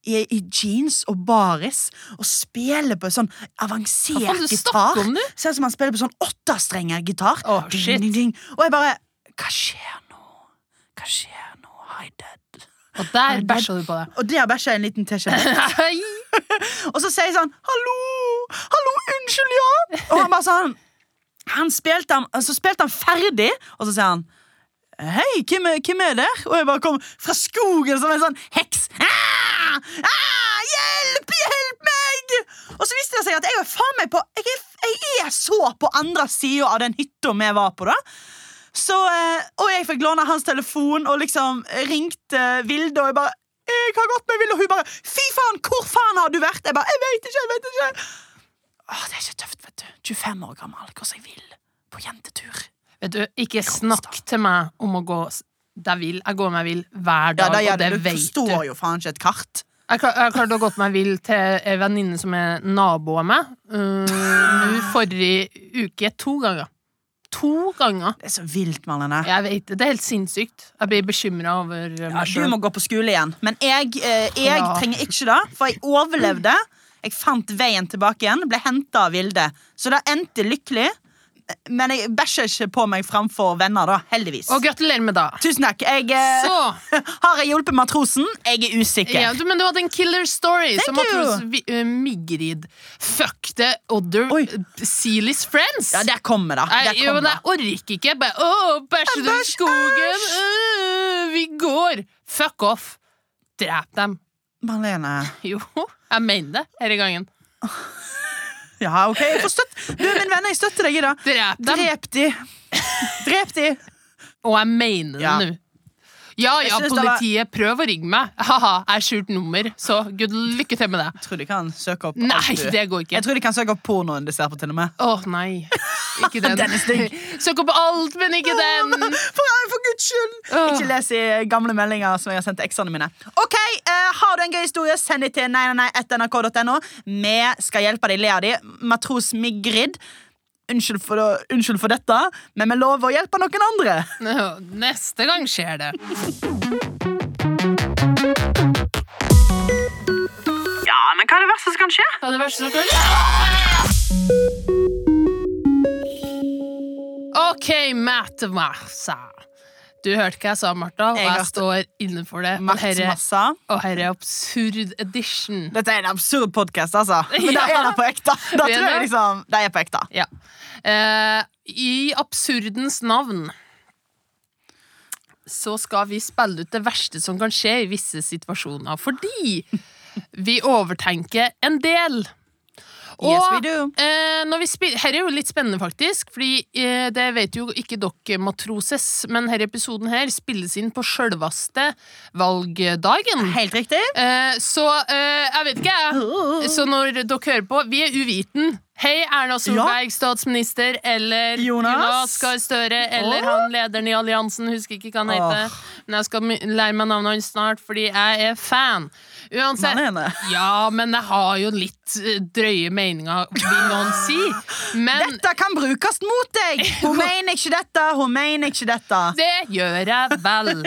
[SPEAKER 2] i, i jeans og baris og spiller på sånn avansert
[SPEAKER 1] Hva faen, du
[SPEAKER 2] gitar.
[SPEAKER 1] snakker om, du?
[SPEAKER 2] Ser ut som han spiller på sånn åttastrenger gitar.
[SPEAKER 1] Å, shit.
[SPEAKER 2] Ding, ding, ding. Og jeg bare Hva skjer nå? Hva skjer nå? Hi, dad.
[SPEAKER 1] Og der bæsja du på deg.
[SPEAKER 2] Og der bæsja jeg en liten teskje.
[SPEAKER 1] Hei!
[SPEAKER 2] Og så sier jeg sånn Hallo! Hallo, unnskyld, ja! Og han bare sånn han spilte han, Så spilte han ferdig, og så sier han Hei, hvem er, hvem er der? Og jeg bare kom fra skogen som en sånn heks. Ah! Ah! Hjelp! Hjelp meg! Og så viste det seg at jeg er faen meg på Jeg er, jeg er så på andre sida av den hytta vi var på, da. Så, eh, og jeg fikk låne hans telefon og liksom ringte Vilde, og jeg bare 'Jeg har gått med Vilde', og hun bare 'Fy faen, hvor faen har du vært?' Jeg bare 'Jeg vet ikke, jeg vet ikke'. Åh, det er så tøft, vet du. 25 år gammel, hvordan jeg vil. På jentetur.
[SPEAKER 1] Vet du, ikke snakk til meg om å gå s- der jeg vil. Jeg går meg vill hver dag, og det
[SPEAKER 2] du
[SPEAKER 1] vet du.
[SPEAKER 2] forstår jo faen ikke et kart.
[SPEAKER 1] Jeg, klar, jeg klarte å gå meg vill til en venninne som er nabo av meg. Uh, Nå forrige uke to ganger. To ganger!
[SPEAKER 2] Det er så vilt, Marlene.
[SPEAKER 1] Jeg vet det. Det er helt sinnssykt. Jeg blir bekymra over eh,
[SPEAKER 2] Ja,
[SPEAKER 1] meg
[SPEAKER 2] du
[SPEAKER 1] sjøl.
[SPEAKER 2] må gå på skole igjen. Men jeg, eh, jeg
[SPEAKER 1] Ja.
[SPEAKER 2] trenger ikke det, for jeg overlevde. Jeg fant veien tilbake igjen, ble henta av Vilde. Så det endte lykkelig. Men jeg bæsjer ikke på meg framfor venner, da, heldigvis.
[SPEAKER 1] Og gratulerer med det.
[SPEAKER 2] Tusen takk. Jeg, eh,
[SPEAKER 1] Så
[SPEAKER 2] har jeg hjulpet matrosen? Jeg er usikker.
[SPEAKER 1] ja, du, Men du hadde en killer story
[SPEAKER 2] Thank
[SPEAKER 1] som
[SPEAKER 2] you.
[SPEAKER 1] matros Vi- eh, Migrid. Fuck the other
[SPEAKER 2] Oi.
[SPEAKER 1] Sealies friends!
[SPEAKER 2] Ja, der kommer det.
[SPEAKER 1] Nei,
[SPEAKER 2] Der
[SPEAKER 1] jo,
[SPEAKER 2] kommer
[SPEAKER 1] men
[SPEAKER 2] det.
[SPEAKER 1] jeg orker ikke. Bare, Åh, bæsjer du i
[SPEAKER 2] Æsj,
[SPEAKER 1] skogen?
[SPEAKER 2] æsj.
[SPEAKER 1] Øh, vi går! Fuck off! Drep dem.
[SPEAKER 2] Marlene.
[SPEAKER 1] Jo, jeg mener det denne gangen.
[SPEAKER 2] Ja, OK. Jeg får støtt. Du, min venn, jeg støtter deg i det.
[SPEAKER 1] Drep dem,
[SPEAKER 2] Drep de. Drep de.
[SPEAKER 1] og jeg mener det
[SPEAKER 2] Ja.
[SPEAKER 1] nå. Ja ja,
[SPEAKER 2] synes det var-
[SPEAKER 1] politiet, prøv å ringe meg. Haha, jeg er skjult nummer, så gud lykke til med det.
[SPEAKER 2] Jeg tror de kan søke opp
[SPEAKER 1] Nei,
[SPEAKER 2] alt du
[SPEAKER 1] det går ikke.
[SPEAKER 2] Jeg tror de kan søke opp pornoen de ser på, til og med.
[SPEAKER 1] Å nei. Ikke den.
[SPEAKER 2] Den er stygg.
[SPEAKER 1] Søk opp alt, men ikke den.
[SPEAKER 2] For, eh, for guds skyld!
[SPEAKER 1] Åh.
[SPEAKER 2] Ikke les i gamle meldinger som jeg har sendt til eksene mine. Ok, eh, Har du en gøy historie, send det til nei, nei, nei, etter nrk.no. Vi skal hjelpe deg, le av de. Matros Migrid. Unnskyld for, det- unnskyld for dette, men vi lover å hjelpe noen andre.
[SPEAKER 1] Nå, Neste gang skjer det.
[SPEAKER 2] Ja, men hva er det verste som kan skje?
[SPEAKER 1] Ja, det verste som kan OK, Matt Massa. Du hørte hva jeg sa, Martha, og
[SPEAKER 2] Jeg
[SPEAKER 1] jeg
[SPEAKER 2] hørte-
[SPEAKER 1] står innenfor det. Og
[SPEAKER 2] Mats
[SPEAKER 1] herre,
[SPEAKER 2] Massa.
[SPEAKER 1] og herre absurd edition.
[SPEAKER 2] Dette er en absurd podkast, altså. Men det
[SPEAKER 1] Ja.
[SPEAKER 2] er det på ekte. Da
[SPEAKER 1] Det er
[SPEAKER 2] tror jeg
[SPEAKER 1] det.
[SPEAKER 2] liksom, det er på ekte.
[SPEAKER 1] Ja. Eh, I absurdens navn så skal vi spille ut det verste som kan skje i visse situasjoner, fordi vi overtenker en del. Og
[SPEAKER 2] Yes, we do.
[SPEAKER 1] eh, når vi spiller, her er jo litt spennende, faktisk, Fordi eh, det vet jo ikke dere matroses, men denne episoden her spilles inn på sjølvaste valgdagen.
[SPEAKER 2] Helt riktig.
[SPEAKER 1] Eh, så eh, jeg vet ikke, jeg. Så når dere hører på, vi er uviten. Hei, Erna Solberg, statsminister, eller
[SPEAKER 2] Jonas.
[SPEAKER 1] Gahr Støre, eller
[SPEAKER 2] Åh.
[SPEAKER 1] han lederen i alliansen, husker ikke hva han heter. Men jeg skal my- lære meg navnet hans snart, fordi jeg er fan. Uansett.
[SPEAKER 2] Marlene.
[SPEAKER 1] Ja, men jeg har jo litt eh, drøye meninger, vil noen si. Men
[SPEAKER 2] Dette kan brukes mot deg! Hun mener ikke dette, hun mener ikke dette.
[SPEAKER 1] det gjør jeg vel.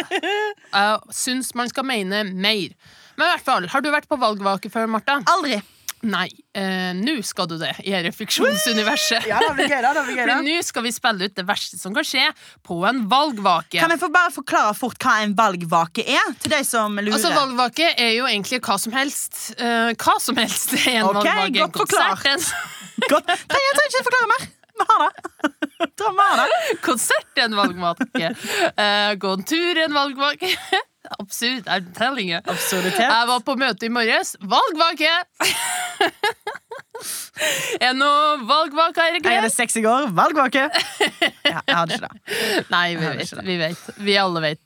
[SPEAKER 1] Jeg syns man skal mene mer. Men i hvert fall, har du vært på valgvake før, Marta?
[SPEAKER 2] Aldri.
[SPEAKER 1] Nei, eh, nå skal du det i refleksjonsuniverset.
[SPEAKER 2] Ja, det blir gøy, da. det blir gøy, da.
[SPEAKER 1] For nå skal vi spille ut det verste som kan skje på en valgvake.
[SPEAKER 2] Kan jeg få bare forklare fort hva en valgvake er? Til deg som lurer.
[SPEAKER 1] Altså, valgvake er jo egentlig hva som helst. Eh, hva som helst er en
[SPEAKER 2] Ok,
[SPEAKER 1] valgvake. En
[SPEAKER 2] godt forklart.
[SPEAKER 1] konsert, en,
[SPEAKER 2] Godt. Nei, jeg trenger ikke forklare mer. Vi har det. Tror vi har det.
[SPEAKER 1] konsert er en valgvake. Eh, gå en tur er en valgvake. Absurd. I'm telling you.
[SPEAKER 2] Absurditet.
[SPEAKER 1] Jeg var på møte i morges. Valgvake! Er det noe valgvake, Eirik?
[SPEAKER 2] Jeg hadde sex i går. Valgvake! Ja, jeg hadde ikke det.
[SPEAKER 1] Nei, vi
[SPEAKER 2] Jeg har
[SPEAKER 1] vet,
[SPEAKER 2] ikke det.
[SPEAKER 1] vi vet. Vi alle vet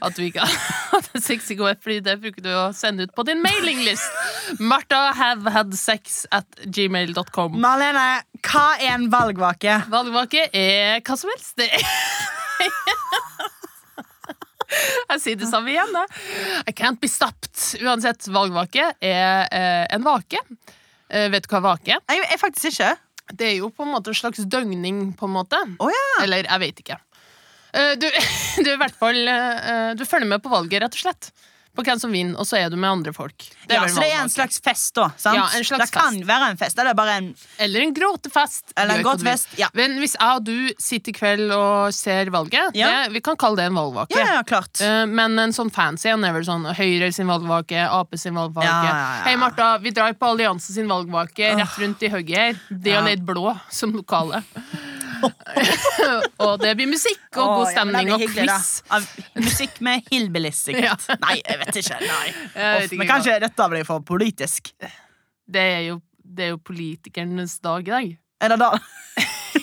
[SPEAKER 1] at du ikke hadde sex i går, fordi det bruker du å sende ut på din mailinglist. Martha have had sex at gmail.com.
[SPEAKER 2] Marlene, hva er en valgvake?
[SPEAKER 1] Valgvake er hva som helst. Det er Jeg sier det samme igjen, da. I can't be stopped. Uansett, valgvake er eh, en vake. Eh, vet du hva vake er?
[SPEAKER 2] Jeg, jeg faktisk ikke.
[SPEAKER 1] Det er jo på en måte en slags døgning, på en måte.
[SPEAKER 2] Å ja.
[SPEAKER 1] Eller jeg vet ikke. Eh, Du, du, er i hvert fall, eh, du følger med på valget, rett og slett. På hvem som vinner, og så er du med andre folk. Det er
[SPEAKER 2] ja
[SPEAKER 1] vel
[SPEAKER 2] så det er en
[SPEAKER 1] valgvake.
[SPEAKER 2] slags fest, da? Sant?
[SPEAKER 1] Ja, en slags
[SPEAKER 2] det kan være en fest. Eller bare en
[SPEAKER 1] Eller en gråtefest.
[SPEAKER 2] Eller en
[SPEAKER 1] Du vet hva du vil.
[SPEAKER 2] gråtefest, ja.
[SPEAKER 1] Men hvis jeg og du sitter i kveld og ser valget,
[SPEAKER 2] Ja.
[SPEAKER 1] det, vi kan kalle det en valgvake.
[SPEAKER 2] Ja, ja, klart.
[SPEAKER 1] Eh, Men en sånn fancy en er vel sånn Høyre sin valgvake, Ap sin valgvake.
[SPEAKER 2] Ja, ja, ja.
[SPEAKER 1] Hei, Martha, vi drar på Allianse sin valgvake rett rundt i høyre her. Det
[SPEAKER 2] Ja.
[SPEAKER 1] er litt blå som lokale. og det blir musikk og
[SPEAKER 2] Å,
[SPEAKER 1] god
[SPEAKER 2] ja, men det
[SPEAKER 1] stemning
[SPEAKER 2] blir
[SPEAKER 1] og
[SPEAKER 2] hyggelig, da.
[SPEAKER 1] quiz.
[SPEAKER 2] Av musikk med hillbillies, sikkert.
[SPEAKER 1] Ja.
[SPEAKER 2] Nei, jeg vet ikke. Nei.
[SPEAKER 1] Jeg vet
[SPEAKER 2] Uff,
[SPEAKER 1] ikke
[SPEAKER 2] men
[SPEAKER 1] hva-
[SPEAKER 2] kanskje dette blir for politisk.
[SPEAKER 1] Det er jo, det er jo politikernes dag i dag.
[SPEAKER 2] Er det da?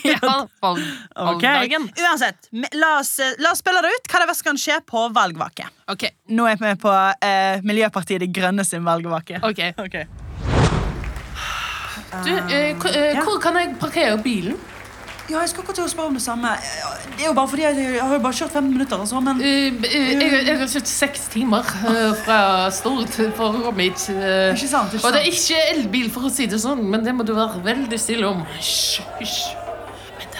[SPEAKER 1] Ja, valg,
[SPEAKER 2] Ok.
[SPEAKER 1] valgdagen.
[SPEAKER 2] Uansett, me- la oss, eh, la oss spille det ut. Hva det verste kan skje på valgvake.
[SPEAKER 1] Ok,
[SPEAKER 2] Nå er vi på eh, Miljøpartiet De Grønne sin valgvake.
[SPEAKER 1] ok.
[SPEAKER 2] Ok.
[SPEAKER 1] Du, eh, k- eh, hvor kan jeg parkere bilen?
[SPEAKER 2] Ja, jeg skulle akkurat til å spørre om det samme. Eh, Det er jo bare fordi jeg, jeg har jo bare kjørt 15 minutter. Altså, men
[SPEAKER 1] Eh, b- eh, jeg, jeg har kjørt seks timer eh, fra Stord for å komme hit. eh.
[SPEAKER 2] Ikke sant, ikke
[SPEAKER 1] Og det
[SPEAKER 2] sant.
[SPEAKER 1] er ikke elbil, for å si det sånn, men det må du være veldig stille om. Hysj, hysj.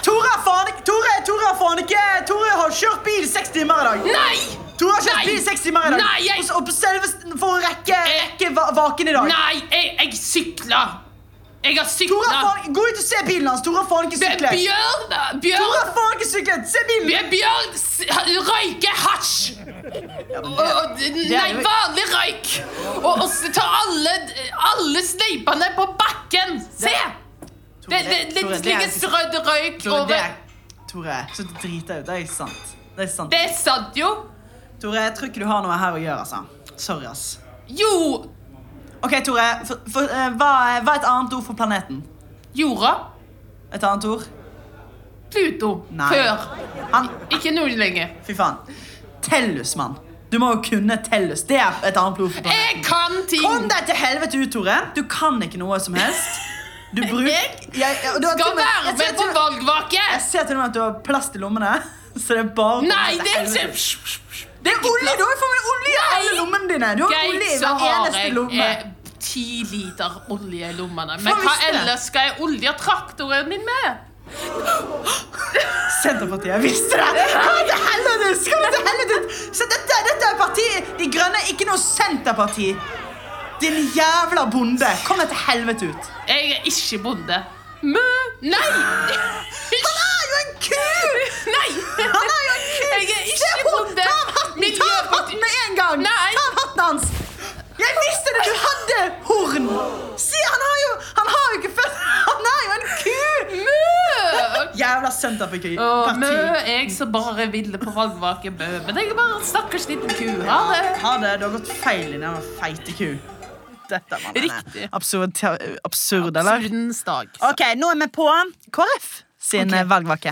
[SPEAKER 2] Tore, faen ikke! Tore, Tore, faen ikke! Tore har kjørt bil seks timer i dag!
[SPEAKER 1] Nei!
[SPEAKER 2] Tore har kjørt
[SPEAKER 1] Nei!
[SPEAKER 2] bil seks timer i dag!
[SPEAKER 1] Nei, jeg-
[SPEAKER 2] Og så- Og på selve for å rekke,
[SPEAKER 1] Jeg-
[SPEAKER 2] rekke va vaken i dag.
[SPEAKER 1] Nei, jeg, jeg sykla! Jeg har
[SPEAKER 2] Tore,
[SPEAKER 1] sykla!
[SPEAKER 2] faen, gå ut og se bilen hans! Tore har faen ikke
[SPEAKER 1] Det er
[SPEAKER 2] syklet!
[SPEAKER 1] Bjørn! da, Bjørn!
[SPEAKER 2] Tore har faen ikke syklet! Se bilen!
[SPEAKER 1] Bjørn, Bjørn s- røyker hasj! Og- og- Nei,
[SPEAKER 2] jo-
[SPEAKER 1] vanlig røyk! Og, og s- tar alle, alle sneipene på bakken! Se! Det, det, det,
[SPEAKER 2] Tore, det er
[SPEAKER 1] ligger
[SPEAKER 2] ikke-
[SPEAKER 1] strødd røyk
[SPEAKER 2] Tore,
[SPEAKER 1] over
[SPEAKER 2] det er- Tore, så du driter ut. Det er ikke sant. Det er sant.
[SPEAKER 1] Det er sant, jo!
[SPEAKER 2] Tore, jeg tror ikke du har noe her å gjøre, altså. Sorry, ass.
[SPEAKER 1] Jo!
[SPEAKER 2] Ok, Tore, for, for, eh, hva, er- hva er et annet ord for planeten?
[SPEAKER 1] Jorda.
[SPEAKER 2] Et annet ord?
[SPEAKER 1] Pluto.
[SPEAKER 2] Nei.
[SPEAKER 1] Før.
[SPEAKER 2] Han,
[SPEAKER 1] Ikke nå lenger.
[SPEAKER 2] fy faen. Tellus, mann. Du må jo kunne Tellus. Det er et annet blod for
[SPEAKER 1] Jeg
[SPEAKER 2] planeten.
[SPEAKER 1] kan ting!
[SPEAKER 2] Kom deg til helvete ut, Tore. Du kan ikke noe som helst. Du bruker
[SPEAKER 1] Jeg
[SPEAKER 2] Jeg- jeg- du har til
[SPEAKER 1] Skal
[SPEAKER 2] og med-
[SPEAKER 1] være
[SPEAKER 2] jeg ser
[SPEAKER 1] med på
[SPEAKER 2] til-
[SPEAKER 1] valgvake!
[SPEAKER 2] Jeg ser til og med at du har plast i lommene. Så det er bare å komme
[SPEAKER 1] Nei,
[SPEAKER 2] seg
[SPEAKER 1] det er
[SPEAKER 2] til helvete.
[SPEAKER 1] ikke
[SPEAKER 2] Det er olje! Du har jo faen meg olje i
[SPEAKER 1] Nei.
[SPEAKER 2] alle lommene dine! Du har olje i
[SPEAKER 1] Greit, så
[SPEAKER 2] hver
[SPEAKER 1] har
[SPEAKER 2] eneste
[SPEAKER 1] jeg
[SPEAKER 2] lomme.
[SPEAKER 1] eh, ti liter olje i lommene.
[SPEAKER 2] Faen,
[SPEAKER 1] Men hva
[SPEAKER 2] visste det.
[SPEAKER 1] ellers skal jeg olje traktoren min med?
[SPEAKER 2] Senterpartiet, jeg visste det! Kom til helvete! Kom til helvete! Så dette, dette er partiet De Grønne, ikke noe Senterparti. Din jævla bonde. Kom deg til helvete ut.
[SPEAKER 1] Jeg er ikke bonde. Mø! Nei!
[SPEAKER 2] Han er jo en ku!
[SPEAKER 1] Nei!
[SPEAKER 2] Han er jo en ku!
[SPEAKER 1] Jeg er
[SPEAKER 2] Se
[SPEAKER 1] ikke
[SPEAKER 2] på-
[SPEAKER 1] bonde.
[SPEAKER 2] Ta av hatten! Ta av hatten
[SPEAKER 1] Miljøparti...
[SPEAKER 2] med en gang!
[SPEAKER 1] Nei.
[SPEAKER 2] Ta av hatten hans! Jeg visste det! Du hadde horn! Se, han har jo Han har jo ikke født Han er jo en ku!
[SPEAKER 1] Mø!
[SPEAKER 2] Jævla senterparti.
[SPEAKER 1] Og mø jeg som bare ville på valgvake mø. Men jeg er bare en stakkars liten ku. Ha det.
[SPEAKER 2] Ha det. Du har gått feil i den jævla feite ku. Dette mannen, er
[SPEAKER 1] Riktig.
[SPEAKER 2] Absurd, te- absurd, eller?
[SPEAKER 1] Surdens dag.
[SPEAKER 2] OK, nå er vi på KrF sin eh, valgvake.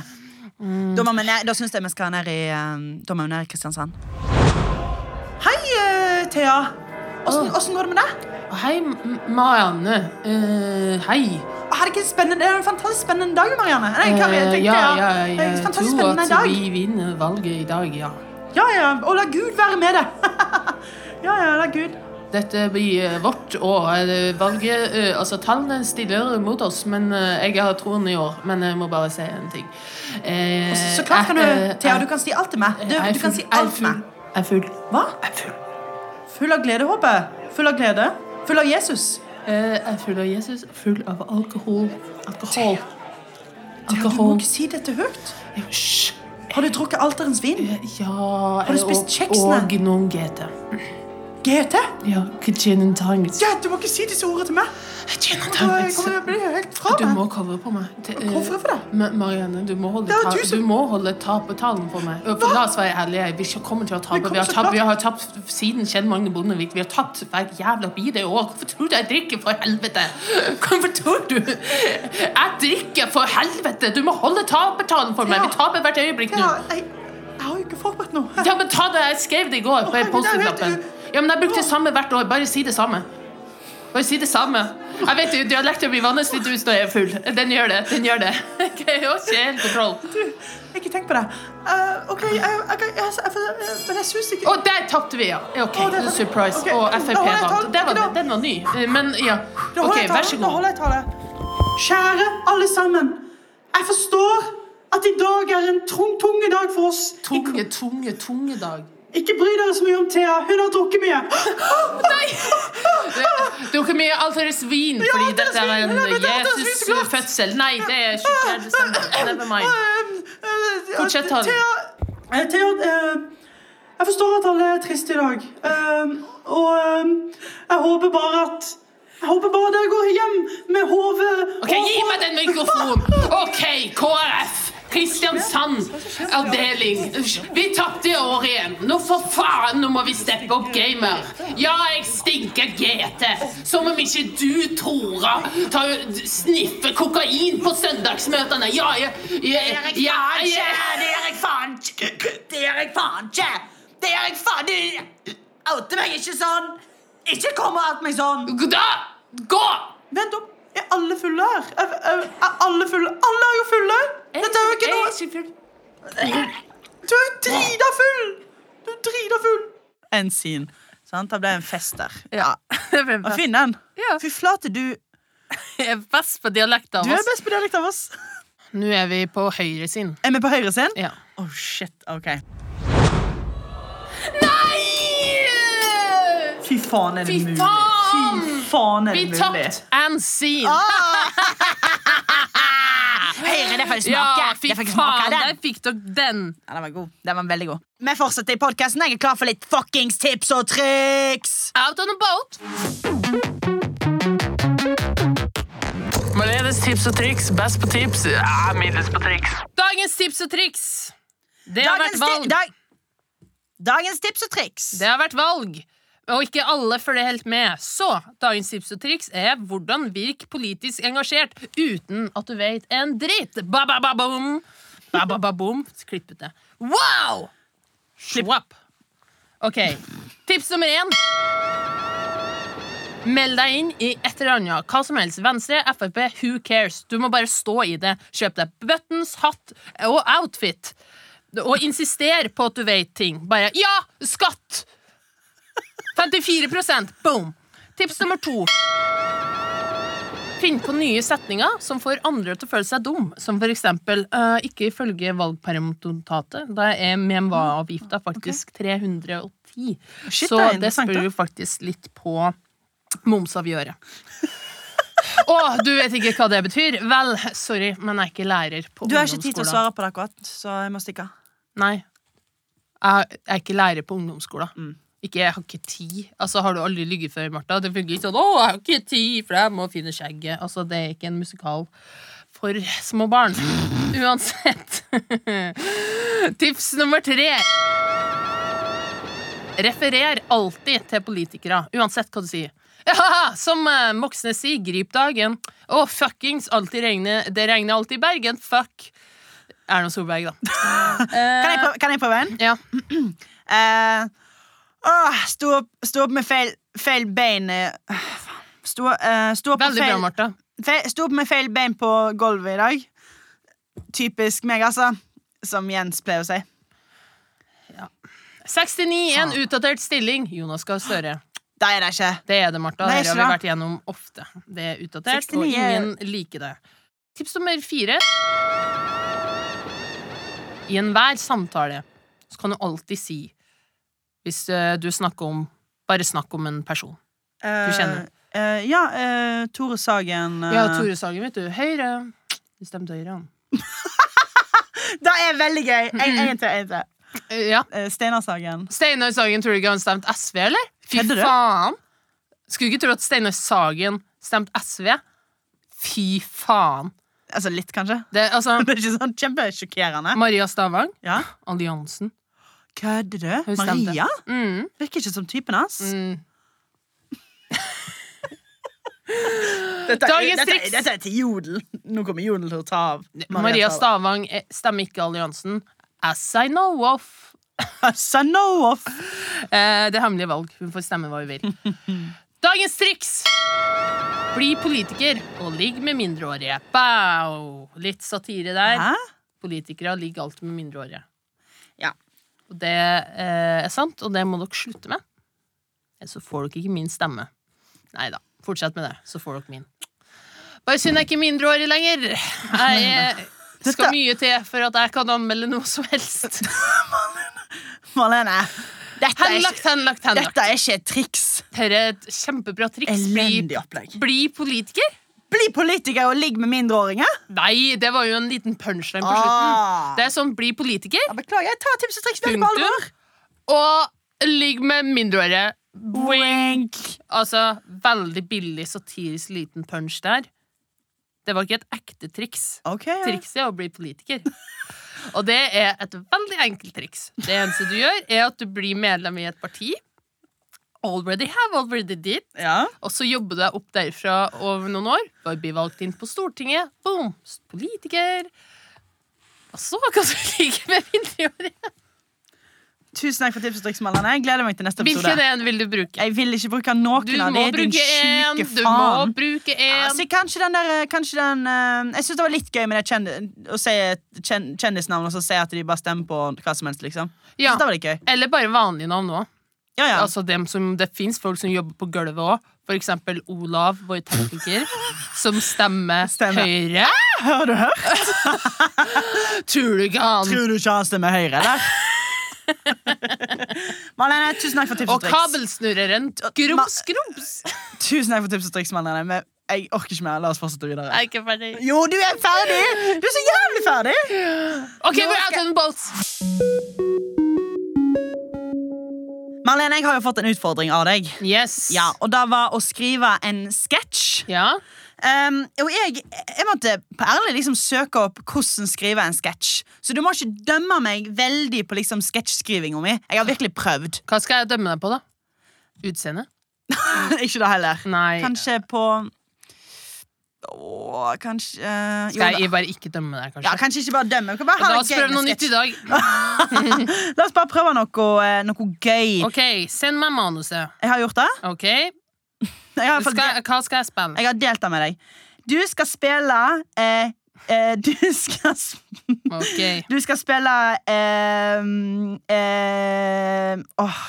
[SPEAKER 1] Mm.
[SPEAKER 2] Da, må vi ned- da syns jeg vi skal ned i eh, Da må vi ned i Kristiansand. Hei, eh, Thea. Åssen åssen går det med deg?
[SPEAKER 1] Og Hei, M- Marianne. Eh, hei.
[SPEAKER 2] Har det ikke spennende, det er en fantastisk spennende dag, Marianne. Nei, hva, jeg
[SPEAKER 1] Eh,
[SPEAKER 2] tenkte,
[SPEAKER 1] ja,
[SPEAKER 2] ja,
[SPEAKER 1] ja,
[SPEAKER 2] Det er
[SPEAKER 1] jeg
[SPEAKER 2] en
[SPEAKER 1] tror
[SPEAKER 2] fantastisk spennende
[SPEAKER 1] at
[SPEAKER 2] dag.
[SPEAKER 1] vi vinner valget i dag, ja.
[SPEAKER 2] Ja, ja. Og la Gud være med det. ja, ja, la Gud.
[SPEAKER 1] Dette blir eh, vårt år. Eh, Valget, eh, altså Tallene stiller mot oss, men eh, jeg har troen i år. Men jeg må bare si en ting. Eh,
[SPEAKER 2] Så klart kan
[SPEAKER 1] jeg-
[SPEAKER 2] du, Thea,
[SPEAKER 1] jeg-
[SPEAKER 2] du kan si alt til meg. Du,
[SPEAKER 1] jeg er
[SPEAKER 2] du kan si
[SPEAKER 1] full-
[SPEAKER 2] alt til meg.
[SPEAKER 1] Jeg er full. Jeg er full.
[SPEAKER 2] Hva?
[SPEAKER 1] Jeg er full.
[SPEAKER 2] Full av glede, håper jeg. Full av glede. Full av Jesus.
[SPEAKER 1] Eh, jeg er full av Jesus, full av alkohol. Alkohol.
[SPEAKER 2] Thea, du må
[SPEAKER 1] Alkohol.
[SPEAKER 2] ikke si dette høyt.
[SPEAKER 1] Hysj.
[SPEAKER 2] Har du drukket alterens vin?
[SPEAKER 1] Ja
[SPEAKER 2] du spist
[SPEAKER 1] og,
[SPEAKER 2] kjeksene?
[SPEAKER 1] og noen GT.
[SPEAKER 2] GT?
[SPEAKER 1] Ja, gin and tonics.
[SPEAKER 2] Ja, du må ikke si disse ordene til meg!
[SPEAKER 1] Gin and
[SPEAKER 2] Da kommer
[SPEAKER 1] tonics.
[SPEAKER 2] til å bli helt fra
[SPEAKER 1] Du
[SPEAKER 2] meg.
[SPEAKER 1] må covre på meg. Det, eh,
[SPEAKER 2] Hvorfor det?
[SPEAKER 1] Ma- Marianne, du må holde,
[SPEAKER 2] Det var
[SPEAKER 1] ta,
[SPEAKER 2] du som-
[SPEAKER 1] du må holde tapertalen for meg. Og For la oss være ærlige, vi ikke kommer til å tape.
[SPEAKER 2] Vi kommer
[SPEAKER 1] Vi har
[SPEAKER 2] til å
[SPEAKER 1] tapt,
[SPEAKER 2] tape.
[SPEAKER 1] vi har tapt siden Kjell Magne Bondevik. Vi har tapt hver jævla bide år. Hvorfor tror du jeg drikker, for helvete? Hvorfor tror du? Jeg drikker, for helvete! Du må holde tapertalen for meg.
[SPEAKER 2] Ja.
[SPEAKER 1] Vi taper hvert øyeblikk nå.
[SPEAKER 2] Ja, jeg, jeg har jo ikke forberedt noe.
[SPEAKER 1] Ja, men ta det. Jeg skrev det i går på
[SPEAKER 2] herregud, jeg
[SPEAKER 1] Post-It-lappen.
[SPEAKER 2] vet
[SPEAKER 1] Ja, men jeg brukte det samme hvert år. Bare si det samme. Bare si det samme. Jeg vet jo, Dialekten min vannes litt ut når jeg er full. Den gjør det. den gjør det. Ok, også helt kontroll.
[SPEAKER 2] Ikke tenk på det. Eh, ok, jeg, jeg, jeg, jeg, jeg, men jeg syns ikke
[SPEAKER 1] Og der tapte vi, ja. Ja, OK,
[SPEAKER 2] Å, der-
[SPEAKER 1] surprise.
[SPEAKER 2] ok,
[SPEAKER 1] Og
[SPEAKER 2] da
[SPEAKER 1] Frp
[SPEAKER 2] holder jeg
[SPEAKER 1] vant.
[SPEAKER 2] talen.
[SPEAKER 1] Det var,
[SPEAKER 2] Ok, da-
[SPEAKER 1] den var ny. Eh, Men ja.
[SPEAKER 2] Da holder
[SPEAKER 1] OK,
[SPEAKER 2] jeg
[SPEAKER 1] vær
[SPEAKER 2] tale,
[SPEAKER 1] så
[SPEAKER 2] da
[SPEAKER 1] god.
[SPEAKER 2] holder jeg tale. Kjære alle sammen. Jeg forstår at i dag er en tung, tung dag for oss.
[SPEAKER 1] Tunge, tunge, tungedag.
[SPEAKER 2] Ikke bry dere så mye om Thea. Hun har drukket mye.
[SPEAKER 1] Dere mye alt deres vin
[SPEAKER 2] Ja,
[SPEAKER 1] fordi
[SPEAKER 2] deres
[SPEAKER 1] dette er
[SPEAKER 2] vin.
[SPEAKER 1] en
[SPEAKER 2] Ja, men det er deres vin, så klart.
[SPEAKER 1] Jesus-fødsel. Nei, det er 24. desember. Never mind. Fortsett, Harald.
[SPEAKER 2] øh, Thea, eh, Thea eh, jeg forstår at alle er triste i dag. Eh, og eh, jeg håper bare at Jeg håper bare dere går hjem med hodet
[SPEAKER 1] Ok, Gi meg den mikrofonen! OK, KrF. Kristiansand avdeling. Vi tapte i år igjen. Nå for faen, nå må vi steppe opp gamer. Ja, jeg stinker GT. Som om ikke du, Tora, tar, sniffer kokain på søndagsmøtene. Ja, jeg, jeg, jeg, jeg, jeg
[SPEAKER 3] Det gjør jeg faen ikke! Det gjør jeg faen ikke! Det gjør jeg faen Du outer meg ikke sånn! Ikke kom og out meg sånn!
[SPEAKER 1] Da! Gå!
[SPEAKER 2] Vent opp. Er alle fulle her? Er, er, er alle fulle? Alle er jo fulle! Dette er jo ikke noe Du er jo drita full! Du er drita full! En sin. Sant? Det ble en fest der.
[SPEAKER 1] Ja.
[SPEAKER 2] Og Finn den.
[SPEAKER 1] Ja.
[SPEAKER 2] Ah, Fy flate, du
[SPEAKER 1] Jeg er best på dialekter
[SPEAKER 2] Du
[SPEAKER 1] av
[SPEAKER 2] er
[SPEAKER 1] oss.
[SPEAKER 2] best på dialekt av oss.
[SPEAKER 1] Nå er vi på høyre sin.
[SPEAKER 2] Er vi på høyre sin?
[SPEAKER 1] Ja.
[SPEAKER 2] Oh, shit. OK.
[SPEAKER 1] Nei!
[SPEAKER 2] Fy faen, er det
[SPEAKER 1] Fy
[SPEAKER 2] mulig?
[SPEAKER 1] faen!
[SPEAKER 2] Fy faen, er det
[SPEAKER 1] Vi
[SPEAKER 2] mulig?
[SPEAKER 1] tapt and seen.
[SPEAKER 3] Ah, Høyre, det får jeg
[SPEAKER 1] ja,
[SPEAKER 3] smake!
[SPEAKER 1] fy
[SPEAKER 3] det får jeg smake
[SPEAKER 1] faen,
[SPEAKER 3] av
[SPEAKER 1] der
[SPEAKER 3] den.
[SPEAKER 1] fikk dere den.
[SPEAKER 3] Ja, den var god. Den var veldig god. Vi fortsetter i podkasten. Jeg er klar for litt fuckings tips og triks!
[SPEAKER 1] Out on a boat.
[SPEAKER 4] Marlenes tips og triks. Best på tips, ja, middels på triks.
[SPEAKER 1] Dagens tips og triks. Det har
[SPEAKER 3] Dagens,
[SPEAKER 1] vært valg.
[SPEAKER 3] ti- dag Dagens tips og triks.
[SPEAKER 1] Det har vært valg. Og ikke alle følger helt med. Så dagens tips og triks er hvordan virk politisk engasjert uten at du vet en dritt. Ba-ba-ba-boom. Ba-ba-ba-boom. Klipp ut det. Wow! Swapp. OK. Tips nummer én. Meld deg inn i et eller annet. Hva som helst. Venstre, Frp, who cares? Du må bare stå i det. Kjøp deg buttons, hatt og outfit. Og insister på at du vet ting. Bare 'ja, skatt'! 54 Boom! Tips nummer to. Finn på nye setninger som får andre til å føle seg dum. Som for eksempel eh, 'ikke ifølge valgperiodotatet'. Da er MEMVA-avgifta faktisk 310.
[SPEAKER 2] Mm, Shit,
[SPEAKER 1] Så
[SPEAKER 2] det er
[SPEAKER 1] det
[SPEAKER 2] interessant, da.
[SPEAKER 1] spør jo faktisk litt på momsavgjøret. Å, du vet ikke hva det betyr? Vel, sorry, men jeg er ikke lærer på
[SPEAKER 2] Du har ikke tid til å
[SPEAKER 1] ungdomsskolen.
[SPEAKER 2] svare på det akkurat, så jeg må stikke av.
[SPEAKER 1] Nei. Jeg jeg er ikke lærer på ungdomsskolen. Ikke, jeg har ikke tid. Altså, har du aldri ligget før, Martha? Det funker ikke sånn 'Å, jeg har ikke tid, for jeg må finne skjegget'. Altså, det er ikke en musikal for små barn. Uansett. Tips nummer tre. Referer alltid til politikere, uansett hva du sier. Ja, som eh, Moxnes sier, grip dagen. Å, fuckings, alltid regner, det regner alltid i Bergen. Fuck. Erna Solberg, da. Eh.
[SPEAKER 3] Kan jeg prøve, kan jeg prøve en?
[SPEAKER 1] Ja.
[SPEAKER 3] Eh, åh, sto, opp, sto opp med feil, feil bein eh, faen. Sto, eh, sto, opp med
[SPEAKER 1] Veldig bra,
[SPEAKER 3] feil,
[SPEAKER 1] Martha.
[SPEAKER 3] feil, sto opp med feil bein på gulvet i dag. Typisk meg, altså. Som Jens pleier å si.
[SPEAKER 1] 69 en utdatert stilling. Jonas Gahr Støre.
[SPEAKER 3] Det er det ikke.
[SPEAKER 1] Det er det, Martha.
[SPEAKER 3] Nei,
[SPEAKER 1] Det har vi
[SPEAKER 3] ikke
[SPEAKER 1] vært gjennom ofte. Det er utdatert,
[SPEAKER 3] 69
[SPEAKER 1] og ingen liker det. Tips nummer fire. I enhver samtale så kan du alltid si Hvis eh, du snakker om Bare snakk om en person.
[SPEAKER 3] Eh,
[SPEAKER 2] Du
[SPEAKER 1] kjenner.
[SPEAKER 2] ja, eh, Tore Sagen eh,
[SPEAKER 1] Ja, Tore Sagen, vet du. Høyre. Du stemte Høyre, han.
[SPEAKER 2] Det er veldig gøy! En, en til, en til.
[SPEAKER 1] Eh, Ja.
[SPEAKER 2] Eh, Steinar Sagen.
[SPEAKER 1] Steinar Sagen, tror du ikke han stemte SV, eller? Fy
[SPEAKER 2] Hedde det?
[SPEAKER 1] faen! Skulle ikke tro at Steinar Sagen stemte SV. Fy faen!
[SPEAKER 2] Altså litt, kanskje.
[SPEAKER 1] Det, altså,
[SPEAKER 2] Det er ikke sånn kjempesjokkerende.
[SPEAKER 1] Maria Stavang,
[SPEAKER 2] Ja.
[SPEAKER 1] alliansen.
[SPEAKER 2] Kødder du?
[SPEAKER 1] Hun stemte.
[SPEAKER 2] Maria?
[SPEAKER 1] Mm,
[SPEAKER 2] Virker ikke som typen hans.
[SPEAKER 1] mm.
[SPEAKER 2] Dette, er-
[SPEAKER 1] Dagens
[SPEAKER 2] dette,
[SPEAKER 1] triks.
[SPEAKER 2] er- dette er til jodel. Nå kommer jodel til å ta av.
[SPEAKER 1] Maria Stavang eh, stemmer ikke alliansen. As I know of.
[SPEAKER 2] Stavang. no off.
[SPEAKER 1] Eh, det er hemmelige valg. Hun får stemme hva hun vil. Dagens triks! Bli politiker og ligg med mindreårige. Bow! Litt satire der.
[SPEAKER 2] Hæ?
[SPEAKER 1] Politikere ligger alltid med mindreårige.
[SPEAKER 2] Ja.
[SPEAKER 1] Og det eh, er sant, og det må dere slutte med. Ellers så får dere ikke min stemme. Nei da. Fortsett med det, så får dere min. Bare synd jeg ikke er mindreårig lenger. Jeg eh, skal
[SPEAKER 2] Dette-
[SPEAKER 1] mye til for at jeg kan anmelde noe som helst.
[SPEAKER 2] Marlene, dette er, ikke,
[SPEAKER 1] Henlagt, henlagt, henlagt.
[SPEAKER 2] dette er ikke et triks.
[SPEAKER 1] Dette er et kjempebra triks.
[SPEAKER 2] Elendig
[SPEAKER 1] Bli,
[SPEAKER 2] opplegg.
[SPEAKER 1] bli politiker?
[SPEAKER 2] Bli politiker og ligg med mindreåringer?
[SPEAKER 1] Nei, det var jo en liten punchline på slutten.
[SPEAKER 2] Ah.
[SPEAKER 1] Det er sånn, bli politiker,
[SPEAKER 2] Ja, beklager, jeg tar tips og triks veldig på alvor.
[SPEAKER 1] punktum, og ligg med mindreårige.
[SPEAKER 2] Wink.
[SPEAKER 1] Altså, veldig billig satirisk liten punch der. Det var ikke et ekte triks.
[SPEAKER 2] Ok.
[SPEAKER 1] Trikset er å bli politiker. Og det er et veldig enkelt triks. Det eneste du gjør, er at du blir medlem i et parti. Already have, already did.
[SPEAKER 2] Ja.
[SPEAKER 1] Og så jobber du deg opp derfra over noen år. Bare bli valgt inn på Stortinget. Boom! Politiker. Og så kan du ligge med mindreårige.
[SPEAKER 2] Tusen takk for tips og triks, Marlene. Jeg gleder meg til neste episode.
[SPEAKER 1] Hvilken en vil du bruke?
[SPEAKER 2] Jeg vil ikke bruke noen
[SPEAKER 1] Du
[SPEAKER 2] av
[SPEAKER 1] må
[SPEAKER 2] de. Din
[SPEAKER 1] bruke en,
[SPEAKER 2] sjuke
[SPEAKER 1] du må
[SPEAKER 2] faen.
[SPEAKER 1] bruke
[SPEAKER 2] Ja,
[SPEAKER 1] en.
[SPEAKER 2] så kanskje den der, kanskje den, eh, jeg syns det var litt gøy med det kjendis, å si et kjen, kjendisnavn og så si at de bare stemmer på hva som helst. liksom
[SPEAKER 1] Ja.
[SPEAKER 2] Så det var litt gøy
[SPEAKER 1] Eller bare vanlige navn òg.
[SPEAKER 2] Ja, ja.
[SPEAKER 1] Altså dem som, det fins folk som jobber på gulvet òg. For eksempel Olav, vår tekniker, som stemmer,
[SPEAKER 2] Stemmer.
[SPEAKER 1] Høyre.
[SPEAKER 2] Har du hørt?
[SPEAKER 1] Tror du ikke han
[SPEAKER 2] Tror du ikke han stemmer Høyre, eller? Marlene, tusen takk for tips og
[SPEAKER 1] Og
[SPEAKER 2] triks.
[SPEAKER 1] kabelsnurreren.
[SPEAKER 2] Ma-
[SPEAKER 1] Grums, grums!
[SPEAKER 2] Tusen takk for tips og triks, Marlene Men jeg orker ikke mer. La oss fortsette videre.
[SPEAKER 1] Jeg er ikke ferdig.
[SPEAKER 2] Jo, du er ferdig! Du er så jævlig ferdig!
[SPEAKER 1] OK,
[SPEAKER 2] Nå
[SPEAKER 1] we're out
[SPEAKER 2] skal-
[SPEAKER 1] on boats.
[SPEAKER 2] Marlene, jeg har jo fått en utfordring av deg.
[SPEAKER 1] Yes.
[SPEAKER 2] Ja, Og det var å skrive en sketsj.
[SPEAKER 1] Ja.
[SPEAKER 2] Um, og jeg, jeg måtte på ærlig liksom søke opp hvordan skrive en sketsj. Så du må ikke dømme meg veldig på liksom sketsjskrivinga mi. Jeg har virkelig prøvd.
[SPEAKER 1] Hva skal jeg dømme deg på, da? Utseende?
[SPEAKER 2] ikke det heller.
[SPEAKER 1] Nei.
[SPEAKER 2] Kanskje på Åh, kanskje eh, jo,
[SPEAKER 1] Skal
[SPEAKER 2] da-
[SPEAKER 1] jeg bare ikke dømme deg,
[SPEAKER 2] ja,
[SPEAKER 1] kanskje?
[SPEAKER 2] Kanskje ikke bare dømme. Vi kan bare
[SPEAKER 1] La
[SPEAKER 2] ha
[SPEAKER 1] oss
[SPEAKER 2] det gøy
[SPEAKER 1] prøve noe
[SPEAKER 2] med
[SPEAKER 1] nytt i
[SPEAKER 2] sketsj.
[SPEAKER 1] dag.
[SPEAKER 2] La oss bare prøve noe, eh, noe gøy.
[SPEAKER 1] OK, send meg manuset.
[SPEAKER 2] Jeg har gjort det.
[SPEAKER 1] OK?
[SPEAKER 2] Jeg har,
[SPEAKER 1] Du
[SPEAKER 2] fått-
[SPEAKER 1] Skal, hva skal jeg spille?
[SPEAKER 2] jeg har delt det med deg. Du skal spille eh, eh, Du skal spille
[SPEAKER 1] OK.
[SPEAKER 2] Du skal spille ehm, ehm, åh.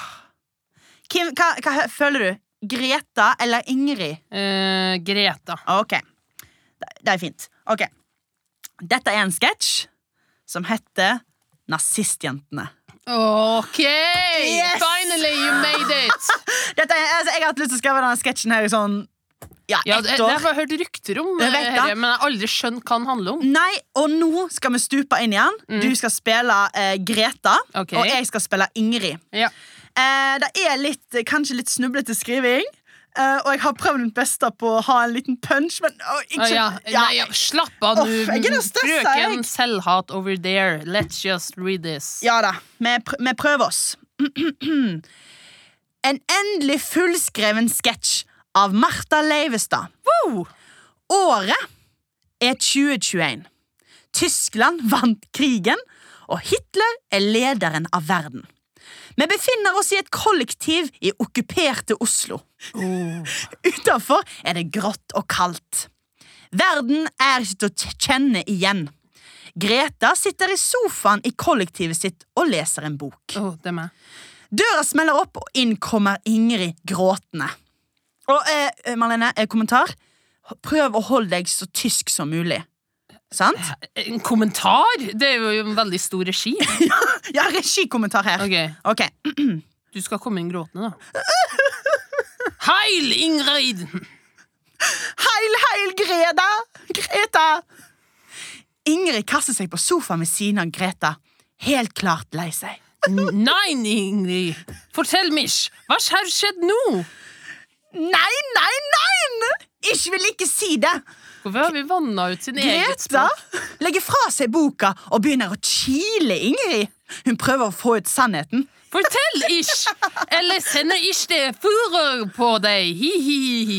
[SPEAKER 2] Kim, hva, hva hø- føler du? Greta eller Ingrid?
[SPEAKER 1] Eh, Greta.
[SPEAKER 2] Ok, det, det er fint Ok, dette er en sketsj Som heter Nazistjentene
[SPEAKER 1] Ok!
[SPEAKER 2] Yes!
[SPEAKER 1] Finally you made it!
[SPEAKER 2] dette er, altså, Jeg har hatt lyst til å skrive denne sketsjen her i sånn Ja,
[SPEAKER 1] Ja, det,
[SPEAKER 2] ett
[SPEAKER 1] det har
[SPEAKER 2] år
[SPEAKER 1] jeg bare hørt rykter om,
[SPEAKER 2] Jeg
[SPEAKER 1] eh,
[SPEAKER 2] vet
[SPEAKER 1] herre,
[SPEAKER 2] det.
[SPEAKER 1] men jeg har aldri skjønt hva den handler om.
[SPEAKER 2] Nei, og nå skal vi stupe inn igjen Du skal spille eh, Greta
[SPEAKER 1] Mm. Ok.
[SPEAKER 2] Og jeg skal spille Ingrid
[SPEAKER 1] Ja.
[SPEAKER 2] Eh, det er litt, kanskje litt snublete skriving. eh, og jeg har prøvd mitt beste på å ha en liten punch, men å, ikke,
[SPEAKER 1] Ah, ja. Nei, ja. Slapp av,
[SPEAKER 2] Uff,
[SPEAKER 1] du
[SPEAKER 2] jeg er så stresset,
[SPEAKER 1] frøken
[SPEAKER 2] jeg.
[SPEAKER 1] selvhat over there. Let's just read this.
[SPEAKER 2] Ja da, vi, pr vi prøver oss. en endelig fullskreven sketsj av Martha Leivestad. Året er 2021. Tyskland vant krigen, og Hitler er lederen av verden. Vi befinner oss i et kollektiv i okkuperte Oslo. Utenfor er det grått og kaldt. Verden er ikke til å t- kjenne igjen. Greta sitter i sofaen i kollektivet sitt og leser en bok.
[SPEAKER 1] Åh, det er meg.
[SPEAKER 2] Døra smeller opp, og inn kommer Ingrid gråtende. Og eh, Marlene, eh, kommentar? Prøv å holde deg så tysk som mulig. Sant?
[SPEAKER 1] En kommentar? Det er jo en veldig stor regi.
[SPEAKER 2] Ja, regikommentar her.
[SPEAKER 1] Ok,
[SPEAKER 2] Ok.
[SPEAKER 1] Du skal komme inn gråtende, da. Heil, Ingrid!
[SPEAKER 2] Heil, heil, Greta! Greta! Ingrid kaster seg på sofaen ved siden av Greta, helt klart lei seg.
[SPEAKER 1] Nei, Ingrid! Fortell meg! Hva har skjedd nå?
[SPEAKER 2] Nei, nei, nei! Ikke vil ikke si det!
[SPEAKER 1] Hvorfor har vi vanna ut sin eget
[SPEAKER 2] Greta
[SPEAKER 1] språk?
[SPEAKER 2] legger fra seg boka og begynner å kile Ingrid. Hun prøver å få ut sannheten.
[SPEAKER 1] Fortell ikke! Eller sender ikke det furor på deg! Hi-hi-hi.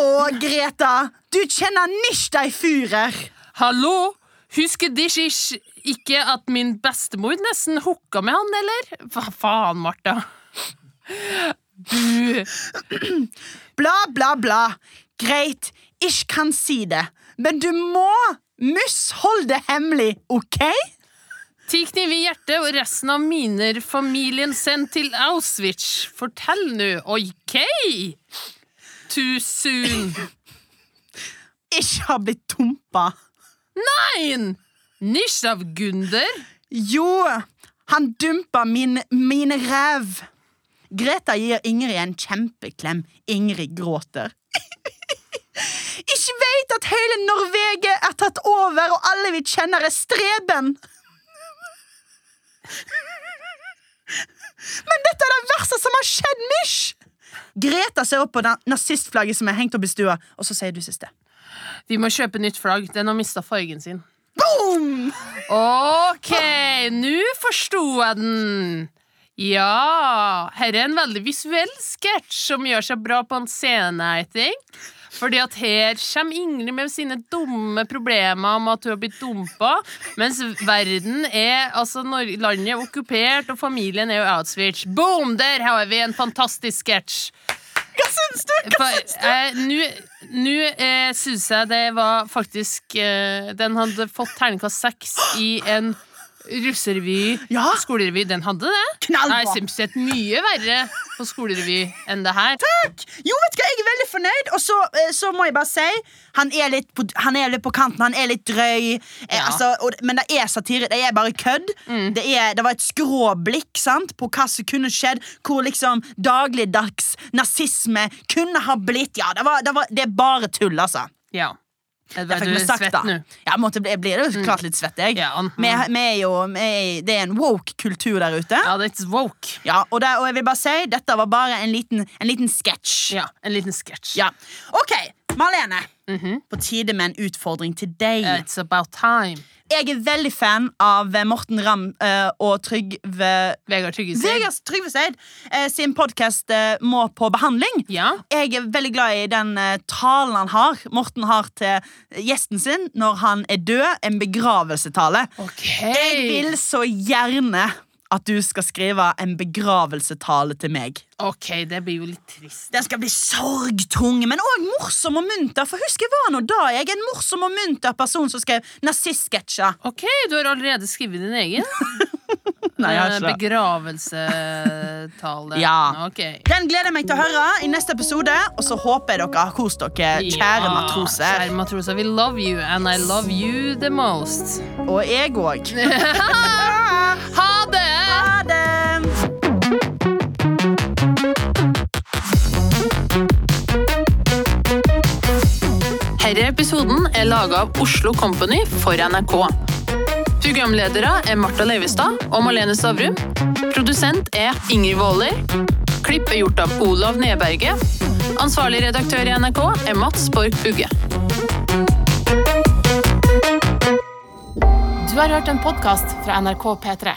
[SPEAKER 2] Å, Greta, du kjenner nicht deg fyrer.
[SPEAKER 1] Hallo? Husker de ikke, ikke at min bestemor nesten hooka med han, eller? Hva faen, Martha? Du
[SPEAKER 2] Bla, bla, bla. Greit, ich kan si det. Men du må muss holde det hemmelig, ok?
[SPEAKER 1] Ti kniv i hjertet og resten av miner familien sendt til Auschwitz. Fortell nå, ok? Too soon.
[SPEAKER 2] Ikke har blitt dumpa.
[SPEAKER 1] Nein! Nicht av Gunder.
[SPEAKER 2] Jo, han dumpa min, mine ræv. Greta gir Ingrid en kjempeklem. Ingrid gråter. Ikke veit at hele Norvegia er tatt over, og alle vi kjenner er streben. Men dette er det verste som har skjedd, Mish! Greta ser opp på na- nazistflagget som er hengt opp i stua, og så sier du siste.
[SPEAKER 1] Vi må kjøpe nytt flagg. Den har mista fargen sin.
[SPEAKER 2] Boom!
[SPEAKER 1] Ok, nå forsto jeg den. Ja, her er en veldig visuell sketsj som gjør seg bra på en scene, I think. Fordi at her kommer Ingrid med sine dumme problemer om at hun har blitt dumpa, mens verden er Altså, Nor- landet er okkupert, og familien er jo outswitch. Boom! Der har vi en fantastisk sketsj.
[SPEAKER 2] Hva syns du? Hva
[SPEAKER 1] For, eh, Nå nå, eh, syns jeg det var faktisk eh, Den hadde fått terningkast seks i en russerevy.
[SPEAKER 2] Ja.
[SPEAKER 1] Skolerevy. Den hadde det.
[SPEAKER 2] Knallbra.
[SPEAKER 1] Jeg syns det er mye verre på skolerevy enn det her.
[SPEAKER 2] Takk! Jo, vet du hva, jeg er veldig fornøyd. Og så, eh, så må jeg bare si han er, litt på, han er litt på kanten, han er litt drøy. Eh,
[SPEAKER 1] Ja. Mm.
[SPEAKER 2] altså, og, men det er satire. Det er bare kødd. Det, er, det var et skråblikk sant, på hva som kunne skjedd, hvor liksom dagligdags nazisme kunne ha blitt. Ja, det, var, det, var, det er bare tull, altså.
[SPEAKER 1] Ja.
[SPEAKER 2] Jeg
[SPEAKER 1] Edvard,
[SPEAKER 2] fikk
[SPEAKER 1] du
[SPEAKER 2] meg
[SPEAKER 1] er
[SPEAKER 2] sagt,
[SPEAKER 1] svett
[SPEAKER 2] da.
[SPEAKER 1] nå. Mm.
[SPEAKER 2] Ja, jeg måtte bli, jeg blir jo klart litt svett, jeg.
[SPEAKER 1] Ja, han-
[SPEAKER 2] Vi, vi er jo, vi er, det er en woke kultur der ute.
[SPEAKER 1] Ja, that's woke.
[SPEAKER 2] Ja, og, det, og jeg vil bare si, dette var bare en liten, en liten sketsj.
[SPEAKER 1] Ja, en liten sketsj.
[SPEAKER 2] Ja. Ok, Marlene. På tide med en utfordring til deg.
[SPEAKER 1] It's about time.
[SPEAKER 2] Jeg er veldig fan av eh, Morten Ramm eh, og Trygve
[SPEAKER 1] Vegard Tryggesen.
[SPEAKER 2] Vegard Trygve Seid eh, sin podkast Må på behandling.
[SPEAKER 1] Ja.
[SPEAKER 2] Jeg er veldig glad i den eh, talen han har Morten har til gjesten sin når han er død. En begravelsetale.
[SPEAKER 1] Ok.
[SPEAKER 2] Jeg vil så gjerne at du skal skrive en begravelsetale til meg.
[SPEAKER 1] Ok, det blir jo litt trist.
[SPEAKER 2] Den skal bli sorgtung, men òg morsom og munter. For husk, jeg var nå da jeg er en morsom og munter person som skrev nazistsketsjer.
[SPEAKER 1] Ok, du har allerede skrevet din egen. Eh,
[SPEAKER 2] Nei, jeg har ikke det.
[SPEAKER 1] Begravelsetale.
[SPEAKER 2] Ja.
[SPEAKER 1] Ok.
[SPEAKER 2] Den gleder jeg meg til å høre i neste episode, og så håper jeg dere har kost dere, kjære
[SPEAKER 1] Ja,
[SPEAKER 2] matroser.
[SPEAKER 1] Kjære matroser, we love you, and I love you the most.
[SPEAKER 2] Og jeg òg.
[SPEAKER 1] Ha det!
[SPEAKER 2] Ha det!
[SPEAKER 1] Herre episoden er laga av Oslo Company for NRK. Programledere er Marta Leivestad og Malene Stavrum. Produsent er Ingrid Waaler. Klipp er gjort av Olav Neberge. Ansvarlig redaktør i NRK er Mats Borg Bugge.
[SPEAKER 5] Du har hørt en podkast fra NRK P3.